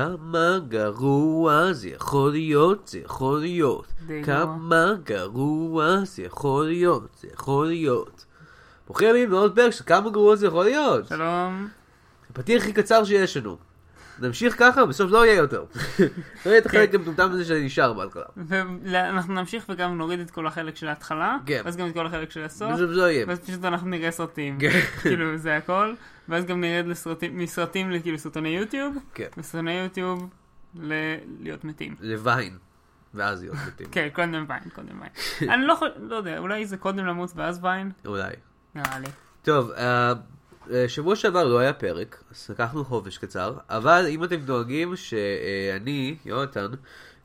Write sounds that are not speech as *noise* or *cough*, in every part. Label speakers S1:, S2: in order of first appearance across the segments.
S1: כמה גרוע זה יכול להיות, זה יכול להיות.
S2: די
S1: כמה גרוע זה יכול להיות, זה יכול להיות. ברוכים הבאים לעוד פרק של כמה גרוע זה יכול להיות.
S2: שלום.
S1: הפתיח הכי קצר שיש לנו. נמשיך ככה, בסוף לא יהיה יותר. לא יהיה את החלק המטומטם הזה שנשאר בהתחלה.
S2: ואנחנו נמשיך וגם נוריד את כל החלק של ההתחלה,
S1: כן.
S2: ואז גם את כל החלק של הסוף,
S1: בסוף לא יהיה.
S2: ואז פשוט אנחנו נראה סרטים,
S1: כן.
S2: *laughs* כאילו זה הכל, ואז גם נרד לסרטים, מסרטים לכאילו סרטוני יוטיוב,
S1: כן.
S2: וסרטוני יוטיוב
S1: *laughs*
S2: ללהיות מתים.
S1: לווין. ואז יהיו מתים.
S2: כן, קודם ויין,
S1: *laughs*
S2: קודם ויין. אני לא יכול, לא יודע, אולי זה קודם למות ואז ויין?
S1: אולי.
S2: נראה לי.
S1: טוב, אה, אה, שבוע שעבר לא היה פרק, אז לקחנו חופש קצר, אבל אם אתם דואגים שאני, יונתן,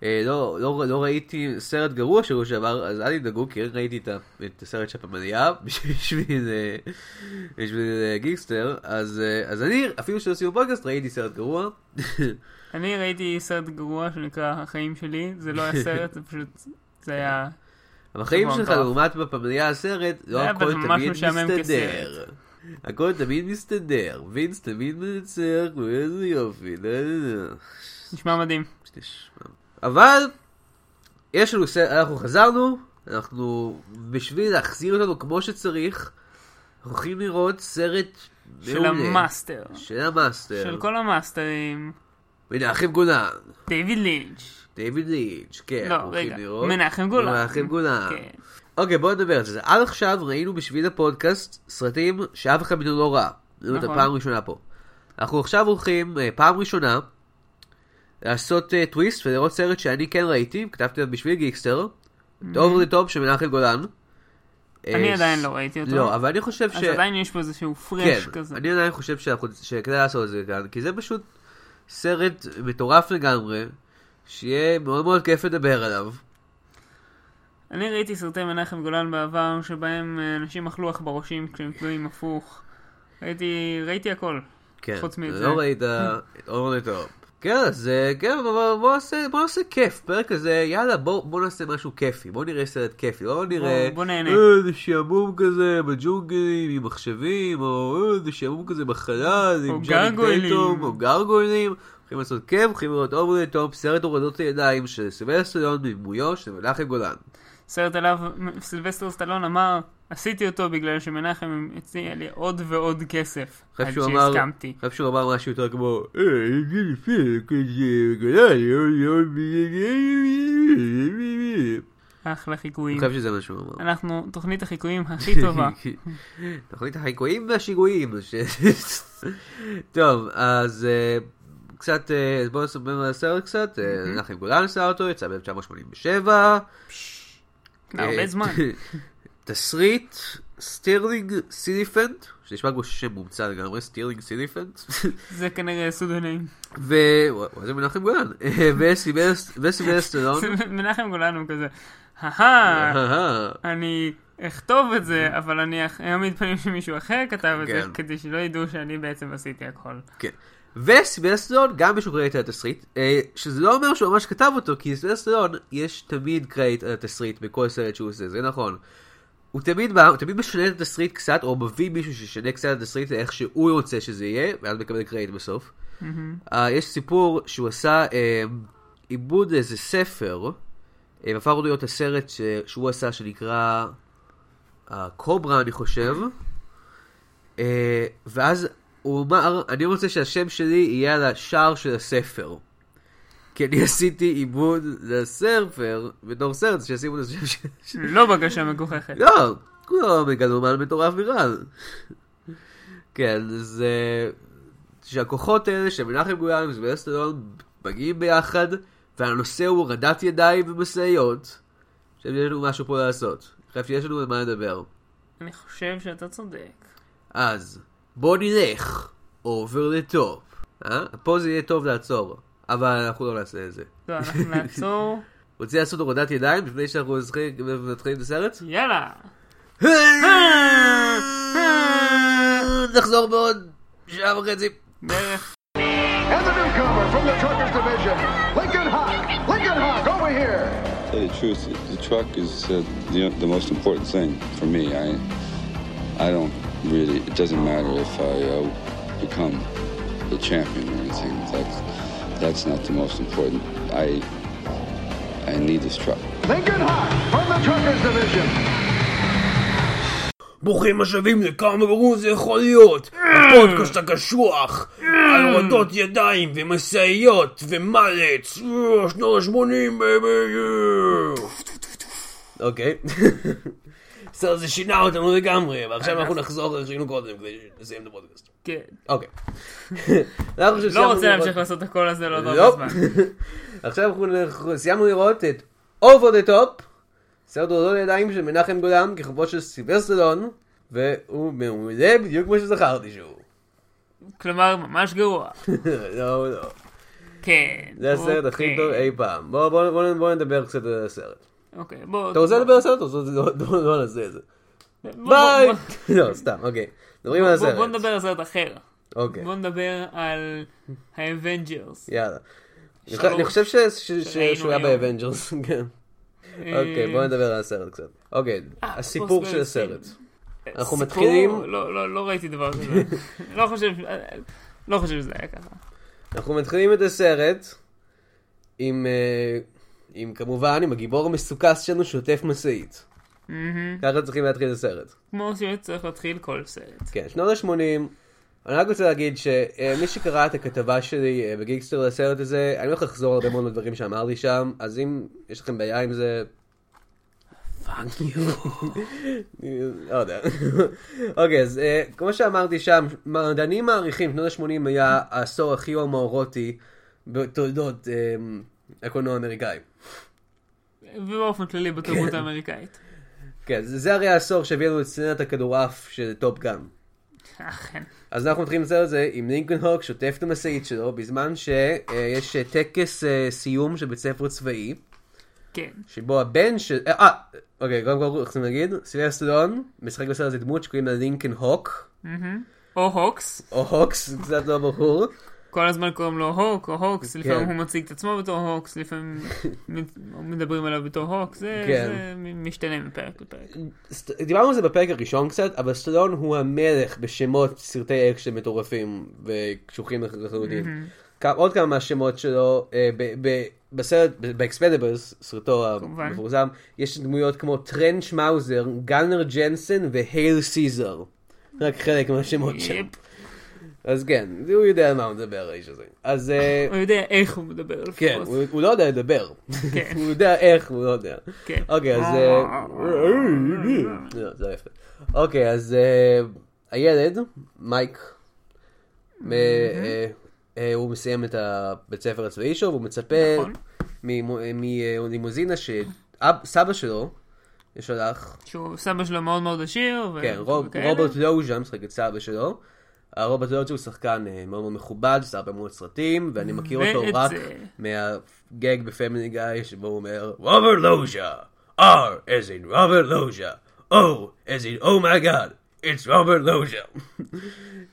S1: אה, לא, לא, לא ראיתי סרט גרוע שבוע שעבר, אז אל תדאגו, כי ראיתי את, ה- את הסרט שבמליאה *laughs* בשביל, אה, בשביל אה, גיקסטר, אז, אה, אז אני, אפילו שלא עשינו פודקאסט, ראיתי סרט גרוע.
S2: אני ראיתי סרט גרוע שנקרא החיים שלי, זה לא היה סרט, זה פשוט, זה היה...
S1: כן. החיים
S2: שבוע
S1: שלך
S2: מטורף.
S1: לעומת בפמליה הסרט, לא
S2: היה
S1: הכל
S2: ממש
S1: תמיד
S2: משעמם
S1: מסתדר. הכל תמיד מסתדר, וינס תמיד מנצח, ואיזה יופי, לא יודע.
S2: נשמע מדהים.
S1: שתשמע. אבל, יש לנו, סרט, אנחנו חזרנו, אנחנו, בשביל להחזיר אותנו כמו שצריך, אנחנו הולכים לראות סרט
S2: של
S1: מעולה.
S2: המאסטר.
S1: של המאסטר.
S2: של כל המאסטרים.
S1: מנחם גולן,
S2: דיוויד לינץ'.
S1: דיוויד לינץ', כן,
S2: לא,
S1: אנחנו הולכים
S2: רגע,
S1: לראות.
S2: מנחם גולן.
S1: מנחם גולן.
S2: כן.
S1: אוקיי, בוא נדבר על זה. עד עכשיו ראינו בשביל הפודקאסט סרטים שאף אחד מאיתנו לא ראה. ראינו אותם
S2: נכון.
S1: פעם ראשונה פה. אנחנו עכשיו הולכים, אה, פעם ראשונה, לעשות אה, טוויסט ולראות סרט שאני כן ראיתי, כתבתי אותו בשביל גיקסטר, דובר דה טופ של מנחם גולן.
S2: אני
S1: אה,
S2: עדיין
S1: ס-
S2: לא ראיתי אותו.
S1: לא, אבל אני חושב ש...
S2: אז עדיין יש פה איזשהו פרש
S1: כן,
S2: כזה.
S1: אני עדיין חושב שאנחנו- שכדאי לעשות את זה כאן, כי זה פשוט סרט מטורף לגמרי, שיהיה מאוד מאוד כיף לדבר עליו.
S2: אני ראיתי סרטי מנחם גולן בעבר, שבהם אה, אנשים אכלו עכברושים כשהם תלויים הפוך. ראיתי, ראיתי הכל.
S1: כן,
S2: חוץ מזה.
S1: לא ראית את אורנט אופ. כן, אז אה, כן, אבל בוא נעשה, בוא נעשה כיף, פרק הזה, יאללה, בוא, בוא נעשה משהו כיפי, בוא נראה סרט כיפי, לא נראה,
S2: בוא נהנה.
S1: אה, זה שעמום כזה בג'ונגלים עם מחשבים, או אה, זה שעמום כזה בחלל, עם
S2: או
S1: ג'וני
S2: גרגוילים.
S1: טייטום, או גרגוילים, הולכים לעשות כיף, הולכים לראות אורנט אופ, סרט הורדות הידיים של סילבסטריון בדמויו של מנחם גולן.
S2: סרט עליו סילבסטר סטלון אמר, עשיתי אותו בגלל שמנחם הציע לי עוד ועוד כסף.
S1: אני
S2: עד
S1: חושב שהוא אמר-
S2: שהסכמתי.
S1: אני חושב שהוא אמר משהו יותר כמו, "אה, זה לפרק, זה גולן, אה, אה, אה, אה, אה, אה, אה."
S2: אחלה חיקויים.
S1: אני חושב שזה מה שהוא אמר.
S2: אנחנו תוכנית החיקויים
S1: *laughs*
S2: הכי טובה.
S1: תוכנית החיקויים והשיגועים. ש- טוב, אז אה, קצת, אה, אז בואו נספר על הסרט קצת. אה, מנחם גולן עשה אותו, יצא ב-1987. אה,
S2: לפני הרבה זמן.
S1: *laughs* תסריט סטירלינג סיליפנט, שנשמע כמו שם מומצא לגמרי, סטירלינג סיליפנט.
S2: זה כנראה סודנים.
S1: ו... וואי, וואי, זה מנחם גולן. *laughs* אה, וסיבס- וסילבסטרון.
S2: מנחם גולן הוא כזה, אהה,
S1: אהה.
S2: אני אכתוב את זה, אבל אני אח- אעמיד פנים שמישהו אחר כתב את זה,
S1: כן.
S2: כדי שלא ידעו שאני בעצם עשיתי הכל.
S1: *laughs* כן. וסילבסטרון גם מישהו קרדיט על התסריט, אה, שזה לא אומר שהוא ממש כתב אותו, כי לסילבסטרון יש תמיד קרדיט על התסריט בכל סרט שהוא עושה, זה נכון. הוא תמיד בא, הוא תמיד משנה את התסריט קצת, או מביא מישהו שישנה קצת את התסריט לאיך שהוא רוצה שזה יהיה, ואז מקבל קרדיט בסוף. אה, יש סיפור שהוא עשה אה, עיבוד לאיזה ספר, אה, והפך אותו להיות הסרט ש... שהוא עשה שנקרא אה, קוברה אני חושב, אה, ואז הוא אמר, אני רוצה שהשם שלי יהיה על השער של הספר. כי אני עשיתי עיבוד לספר, בתור סרט, שישימו את השם של...
S2: לא בקשה מגוחכת.
S1: לא, הוא לא מגלומן מטורף בכלל. כן, זה... שהכוחות האלה של מנחם גולן וסילבסטרון מגיעים ביחד, והנושא הוא הורדת ידיים ומשאיות. אני חושב שיש לנו משהו פה לעשות. אני חושב שיש לנו על מה לדבר.
S2: אני חושב שאתה צודק.
S1: אז, בוא נלך, אובר לטופ. אה? פה זה יהיה טוב לעצור, אבל אנחנו לא נעשה את זה.
S2: לא, אנחנו נעצור.
S1: רוצים לעשות הורדת ידיים לפני שאנחנו נתחיל- נתחיל את הסרט?
S2: יאללה.
S1: נחזור בעוד שעה וחצי.
S2: בערך.
S3: And the newcomer from the Truckers Division, Lincoln Hawk. Lincoln Hawk, over here.
S4: tell you the truth, the truck is uh, the, the most important thing for me. I, I don't really. It doesn't matter if I uh, become the champion or anything. That's That's not the most important. I I need this truck.
S3: Lincoln Hawk from the Truckers Division.
S1: ברוכים השבים לכמה גרוע זה יכול להיות! הפודקאסט הקשוח! על הורדות ידיים ומשאיות ומלץ! אה, שנות ה-80! אוקיי. בסדר, זה שינה אותנו לגמרי, ועכשיו אנחנו נחזור איך שהיינו קודם כדי שנסיים את הפודקאסט.
S2: כן.
S1: אוקיי. אנחנו עכשיו
S2: לא
S1: סיימנו
S2: רוצה להמשיך
S1: לראות-
S2: לעשות את הקול הזה לעוד
S1: לא.
S2: הרבה זמן.
S1: *laughs* עכשיו אנחנו נ- סיימנו לראות את Over the Top, סרט הורדות ידיים של מנחם גולן, ככבוד של סיברסטלון, והוא מעולה בדיוק כמו שזכרתי שהוא. *laughs*
S2: כלומר, ממש גרוע.
S1: לא, לא.
S2: כן.
S1: זה הסרט הכי
S2: אוקיי.
S1: טוב אי פעם. בוא- בוא בוא- בוא נדבר קצת על הסרט.
S2: אוקיי, בוא...
S1: אתה רוצה לדבר על הסרט? או שזה- לא לא- לא נעשה את זה.
S2: בוא- בוא-
S1: ביי!
S2: בוא-
S1: *laughs* לא, סתם, אוקיי. מדברים על
S2: בוא-
S1: הסרט.
S2: בוא נדבר על סרט אחר.
S1: אוקיי,
S2: בוא נדבר על האבנג'רס.
S1: יאללה. אני חושב-
S2: שלוש.
S1: אני חושב ש- ש-
S2: שראינו
S1: שהוא היה
S2: היום.
S1: באבנג'רס, *laughs* כן. אוקיי, בוא נדבר על הסרט קצת. אוקיי,
S2: אה,
S1: הסיפור
S2: פוסט
S1: של
S2: בנסים.
S1: הסרט. אנחנו
S2: סיפור-
S1: מתחילים-
S2: לא, לא, לא ראיתי דבר כזה.
S1: *laughs*
S2: לא חושב... לא חושב שזה היה ככה.
S1: אנחנו מתחילים את הסרט עם, אה, עם כמובן, עם הגיבור המסוכס שלנו שוטף משאית.
S2: מהמם.
S1: ככה צריכים להתחיל את הסרט.
S2: כמו שצריך להתחיל כל סרט.
S1: כן, שנות ה-80. אני רק רוצה להגיד שמי שקרא את הכתבה שלי אה, בגיקסטר לסרט הזה, אני הולך לחזור הרבה מאוד מהדברים שאמרתי שם, אז אם יש לכם בעיה עם זה... פאק יו. *laughs* לא יודע. אוקיי, אז אה, כמו שאמרתי שם, מדענים מעריכים, שנות ה-80 היה העשור הכי הומואורוטי בתולדות אה, הקולנוע האמריקאי.
S2: ובאופן כללי בתרבות האמריקאית.
S1: כן, זה זה הרי העשור שהביא לנו את סצנת הכדורעף של טופגאם.
S2: אכן.
S1: אז אנחנו מתחילים לצייר את זה עם לינקולן הוק שוטף את המשאית שלו בזמן שיש טקס אה, סיום של בית ספר צבאי
S2: כן.
S1: שבו הבן של... אה, אה, אוקיי, קודם כל אנחנו צריכים להגיד, סיליה סטודון משחק בסרט הזה דמות שקוראים לה לינקולן הוק
S2: מהמם. או הוקס.
S1: או הוקס, זה קצת לא ברור.
S2: כל הזמן קוראים לו הוק או הוקס. לפעמים
S1: כן.
S2: הוא מציג את עצמו בתור הוקס, לפעמים מ- מדברים עליו בתור הוקס. זה
S1: כן.
S2: זה מ- משתנה מפרק לפרק.
S1: סט- דיברנו על זה בפרק הראשון קצת, אבל סטודון הוא המלך בשמות סרטי אקשן מטורפים וקשוחים לח- לחלוטין. כ- עוד כמה מהשמות שלו, אה, ב- ב- בסרט, באקספדבלס, סרטו
S2: כמובן.
S1: המפורסם, יש דמויות כמו טרנץ' מאוזר, גלנר ג'נסן והייל סיזר. רק חלק מהשמות שלו.
S2: יפ.
S1: אז כן, הוא יודע על מה הוא מדבר, האיש הזה. אז...
S2: *laughs*
S1: אה,
S2: הוא יודע איך הוא מדבר
S1: כן,
S2: לפחות.
S1: הוא, הוא לא יודע לדבר.
S2: כן.
S1: *laughs* הוא יודע איך, הוא לא יודע.
S2: כן.
S1: אוקיי, אז... אה, לא, זה לא יפה. אוקיי, אז אה, הילד, מייק, מ- אה, אה, הוא מסיים את הבית ספר הצבאי שלו, והוא מצפה אה,
S2: נכון.
S1: מלימוזינה שסבא שלו שלח,
S2: שהוא סבא שלו מאוד מאוד עשיר. ו-
S1: כן, רוב-
S2: וכאלה.
S1: רוברט לוז'ה משחק את סבא שלו. אה, רוברט לוז'ה הוא שחקן אה, מאוד מאוד מכובד, עשה הרבה מאוד סרטים, ואני מכיר אותו
S2: ואת
S1: רק
S2: זה.
S1: מהגג בפמילי גיא, שבו הוא אומר, רוברט לוז'ה, R as in רוברט לוז'ה, O as in Oh my God, it's רוברט לוז'ה. *laughs*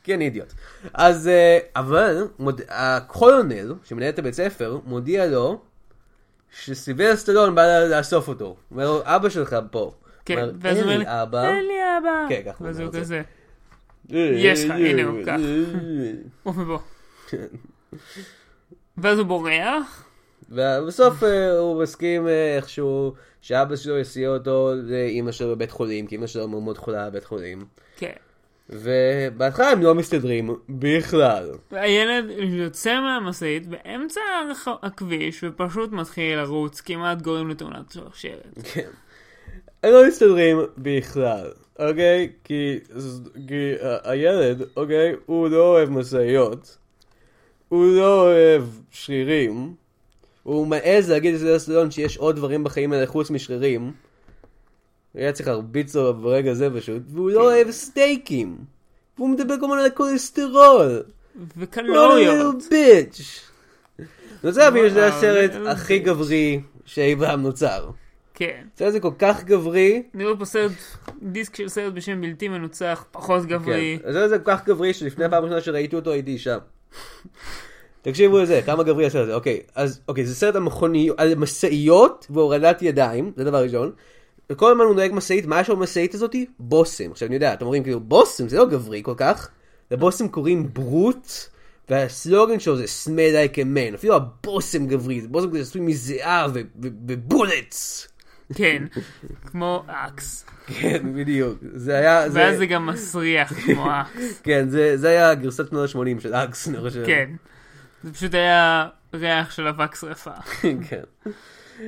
S1: כן, אידיוט. אז, אה, אבל, מוד- הקולונל שמנהל את הבית ספר, מודיע לו שסילבר סטלון בא לאסוף אותו. הוא אומר לו, אבא שלך פה.
S2: כן,
S1: אומר,
S2: ואז הוא אומר
S1: "אין
S2: לי,
S1: לי אבא.
S2: אין לי אבא.
S1: כן, ככה הוא
S2: ואז
S1: אומר
S2: הוא
S1: את
S2: כזה, יש לך, הנה הוא, קח. עוף
S1: *laughs*
S2: מבוא. ואז הוא בורח.
S1: ובסוף אה, הוא מסכים אה, איכשהו שאבא שלו יסיע אותו לאימא שלו בבית חולים, כי אימא שלו מאוד מאוד חולה בבית חולים.
S2: כן.
S1: ובהתחלה הם לא מסתדרים בכלל.
S2: הילד יוצא מהמשאית באמצע הרח- הכביש ופשוט מתחיל לרוץ, כמעט גורם לתאונת שרשרת.
S1: כן. הם לא מסתדרים בכלל, אוקיי? כי, ז- כי ה- הילד, אוקיי, הוא לא אוהב משאיות, הוא לא אוהב שרירים, הוא מעז להגיד לסדר סטודון שיש עוד דברים בחיים האלה חוץ משרירים. היה צריך להרביץ לו ברגע זה פשוט, והוא לא אוהב סטייקים. והוא מדבר כל הזמן על הכולסטרול.
S2: לא, וקלוריות.
S1: ביץ'. אני רוצה להבין שזה
S2: וואו,
S1: הסרט
S2: little
S1: הכי
S2: bitch.
S1: גברי שאי פעם נוצר.
S2: כן.
S1: הסרט הזה כל כך גברי,
S2: אני רואה פה סרט, דיסק של סרט בשם בלתי מנוצח, פחות גברי.
S1: כן, הסרט הזה כל כך גברי שלפני הפעם הראשונה שראיתי אותו הייתי שם. תקשיבו לזה, כמה גברי הסרט הזה, אוקיי, אז אוקיי, זה סרט המכוני, על משאיות והורדת ידיים, זה דבר ראשון. וכל הזמן הוא נוהג משאית, מה יש לו במשאית הזאתי? בושם. עכשיו אני יודע, אתם אומרים כאילו, בושם זה לא גברי כל כך, לבושם קוראים ברוט והסלוגן שלו זה smell like a man, אפילו הבושם גברי, זה בושם כזה עשוי מזיעה ו- ו- ובולטס.
S2: *laughs* כן, כמו אקס.
S1: כן, בדיוק. זה היה, זה,
S2: ואז זה גם מסריח
S1: *laughs*
S2: כמו אקס,
S1: כן, זה, זה היה גרסת שנות ה-80 של אקס, אני חושב.
S2: כן. זה פשוט היה ריח של אבק שרפה.
S1: כן.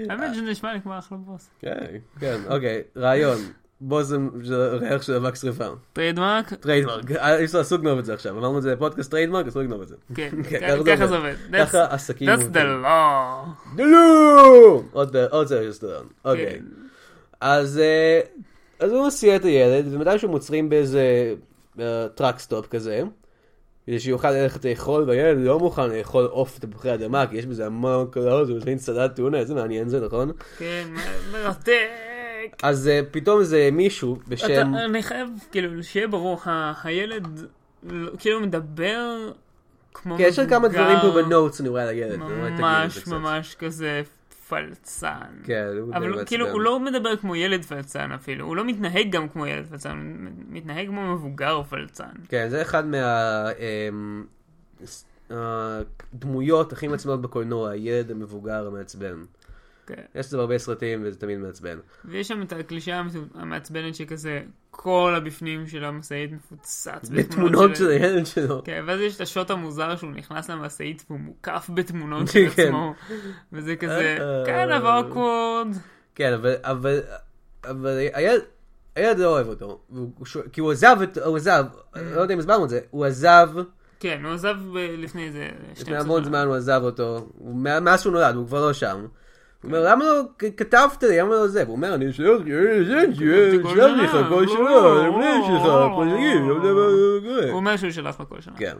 S2: האמת שזה נשמע לי כמו אחלה בוס.
S1: כן, כן, אוקיי, רעיון. בושם של ריח של אבק שרפה.
S2: טריידמרק?
S1: טריידמרק. אה, אי אפשר אסור לגנוב את זה עכשיו. אמרנו את זה בפודקאסט טריידמרק, אסור לגנוב את זה.
S2: כן,
S1: *laughs* כן,
S2: ככה זה עובד. That's-
S1: ככה כאילו, עסקים
S2: That's the
S1: עובדים.
S2: law.
S1: דלו! עוד עוד סרט של סטודן. אוקיי.
S2: כן.
S1: אז אה, אז הוא מסיע את הילד, ומתישהו הם עוצרים באיזה טראק סטופ כזה, כדי שיוכל ללכת לאכול, והילד לא מוכן לאכול עוף תפוחי אדמה, כי יש בזה המון קלעות, הוא מכין סלט טונה, איזה מעניין זה, נכון?
S2: כן, מ- מרתק.
S1: אז אה, פתאום איזה מישהו
S2: אתה-
S1: בשם...
S2: אני חייב, כאילו, שיהיה ברור, ה- הילד לא- כאילו מדבר כמו...
S1: כן, יש עוד כמה
S2: מבוגר,
S1: דברים פה בנוטס, אני רואה על הילד. אני רואה את הגיל הזה
S2: ממש
S1: קצת.
S2: ממש כזה פלצן.
S1: כן, הוא
S2: אבל
S1: די
S2: הוא- כאילו,
S1: מעצבן.
S2: הוא לא מדבר כמו ילד פלצן אפילו, הוא לא מתנהג גם כמו ילד פלצן, הוא מ- מתנהג כמו מבוגר פלצן.
S1: כן, זה אחד אמ, מהדמויות אה, הכי מעצבנות בקולנוע, הילד המבוגר המעצבן.
S2: כן.
S1: יש את זה בהרבה סרטים וזה תמיד
S2: *laughs*
S1: מעצבן.
S2: ויש שם את הקלישאה המת- המעצבנת שכזה, כל הבפנים של המשאית מפוצץ
S1: בתמונות של הילד שלו.
S2: כן, ואז יש את השוט המוזר שהוא נכנס למשאית והוא מוקף בתמונות של
S1: כן.
S2: עצמו, וזה כזה,
S1: אה,
S2: כן, אבל אוקוורד.
S1: כן, אבל- אבל אבל הילד... הילד לא אוהב אותו, והוא- הוא שו- כי הוא עזב, את- הוא עזב,
S2: Mm.
S1: לא יודע אם הסברנו את זה, הוא עזב,
S2: כן, הוא עזב ב- לפני איזה 12
S1: לפני המון זמן הוא עזב אותו, הוא- מא- מאז שהוא נולד, הוא כבר לא שם. הוא אומר, למה לא כ- כתבת לי, למה לא זה? והוא אומר, אני שלח שלח לך כל שנה, אני בני שלך, פרקים, לא יודע מה קורה.
S2: הוא אומר שהוא שלח לו כל שנה.
S1: כן.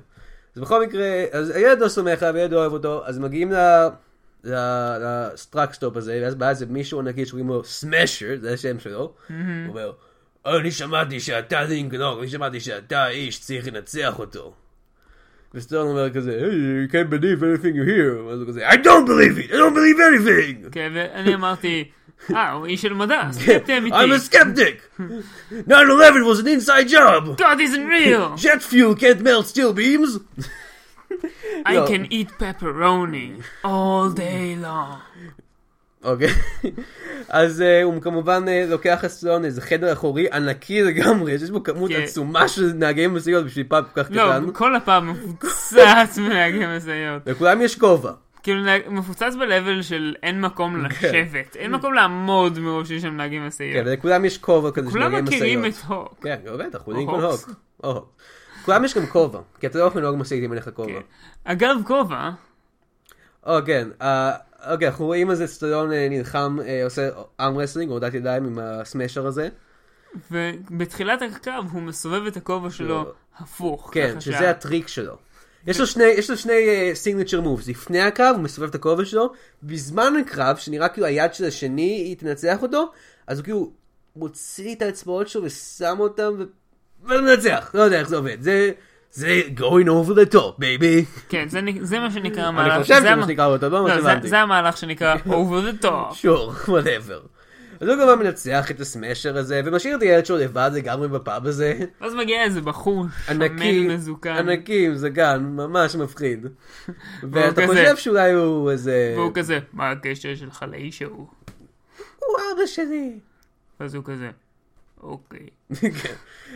S1: אז בכל מקרה, אז הילד לא סומך עליו, הילד לא אוהב אותו, אז מגיעים ל... ל- לסטראקסטופ הזה, ואז בא איזה מישהו ענקי שקוראים לו סמשר, זה השם שלו, הוא אומר, "אה, אני שמעתי שאתה לינגנור, אני שמעתי שאתה האיש, צריך לנצח אותו. וסטרון אומר כזה, hey, you can't believe anything you hear, אז הוא כזה, I don't believe it, I don't believe anything,
S2: כן, ואני אמרתי, אה, הוא איש של מדע, סקפטי אמיתי.
S1: כן. I'm a skeptic, 9-11 was an inside
S2: *laughs*
S1: job,
S2: God isn't
S1: *laughs*
S2: real!
S1: jet fuel can't melt steel beams.
S2: I
S1: לא.
S2: can eat pepperoni all day long.
S1: אוקיי. אז אה, הוא כמובן אה, לוקח אסלון איזה חדר אחורי ענקי לגמרי, יש בו כמות
S2: כן.
S1: עצומה של נהגי משאיות בשביל פאב כל כך
S2: לא,
S1: קטן,
S2: כל הפעם מפוצץ *laughs* מנהגי משאיות.
S1: לכולם יש כובע.
S2: כאילו נהג- מפוצץ בלבל של אין מקום לשבת, אין מקום לעמוד מרוב שיש שם נהגים
S1: כן,
S2: משאיות.
S1: ולכולם יש כובע כזה של נהגי
S2: כולם מכירים את
S1: משאיות.
S2: הוק.
S1: כן, לא, בטח, הוא לינקון
S2: הוקס.
S1: הוק. או הוק. כולם יש גם כובע, כי אתה לא יכול לנהוג משאית אם אין לך כובע.
S2: כן. אגב כובע,
S1: או כן, אה, אוקיי, אנחנו רואים איזה סטלון אה, נלחם, אה, עושה אמרסלינג, הורדת ידיים עם הסמשר הזה.
S2: ובתחילת הקרב הוא מסובב את הכובע שלו
S1: לא.
S2: הפוך.
S1: כן,
S2: ככה
S1: שזה
S2: שה-
S1: הטריק שלו. יש לו שני, יש לו שני סיגנצ'ר מובס, לפני הקרב הוא מסובב את הכובע שלו, בזמן הקרב, שנראה כאילו היד של השני היא תנצח אותו, אז הוא כאילו מוציא את האצבעות שלו ושם אותם ו... ומנצח, לא יודע איך זה עובד, זה, זה going over the top, baby.
S2: כן, זה נק- זה מה שנקרא המהלך.
S1: אני חושב
S2: זה
S1: שזה
S2: המ-
S1: מה שנקרא אותו, לא מה
S2: לא, זה-
S1: שהבנתי.
S2: זה המהלך
S1: *laughs*
S2: שנקרא over the top.
S1: sure, whatever. אז הוא גם מנצח את הסמשר הזה, ומשאיר את הילד שלו לבד לגמרי בפאב הזה.
S2: ואז מגיע איזה בחור
S1: ענקי,
S2: שמן מזוקן,
S1: ענקי עם זגן, ממש מפחיד. ואתה
S2: כזה-
S1: חושב שאולי הוא איזה...
S2: והוא כזה, מה הקשר שלך לאיש ההוא?
S1: הוא אבא שלי.
S2: ואז הוא כזה, אוקיי.
S1: כן.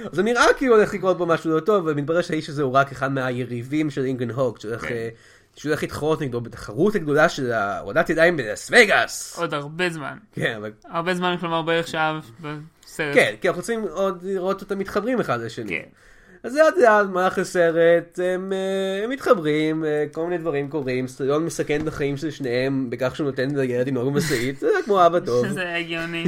S1: אז זה נראה כאילו הולך לקרות פה משהו לא טוב, ומתברר שהאיש הזה הוא רק אחד מהיריבים של אינגן הוק, שהולך
S2: כן.
S1: אה, שהולך להתחרות נגדו בתחרות הגדולה של הורדת ידיים בלאס וגאס.
S2: עוד הרבה זמן.
S1: כן, אבל...
S2: הרבה זמן, כלומר בערך שעה בסרט.
S1: כן, כי אנחנו רוצים עוד לראות אותם מתחברים אחד לשני.
S2: כן.
S1: אז זה עד לאט, במהלך הסרט, הם, אה, הם מתחברים, אה, כל מיני דברים קורים, סטריון מסכן את החיים של שניהם בכך שהוא נותן לילד לנהוג במשאית, זה כמו אבא טוב.
S2: *laughs* זה היה הגיוני.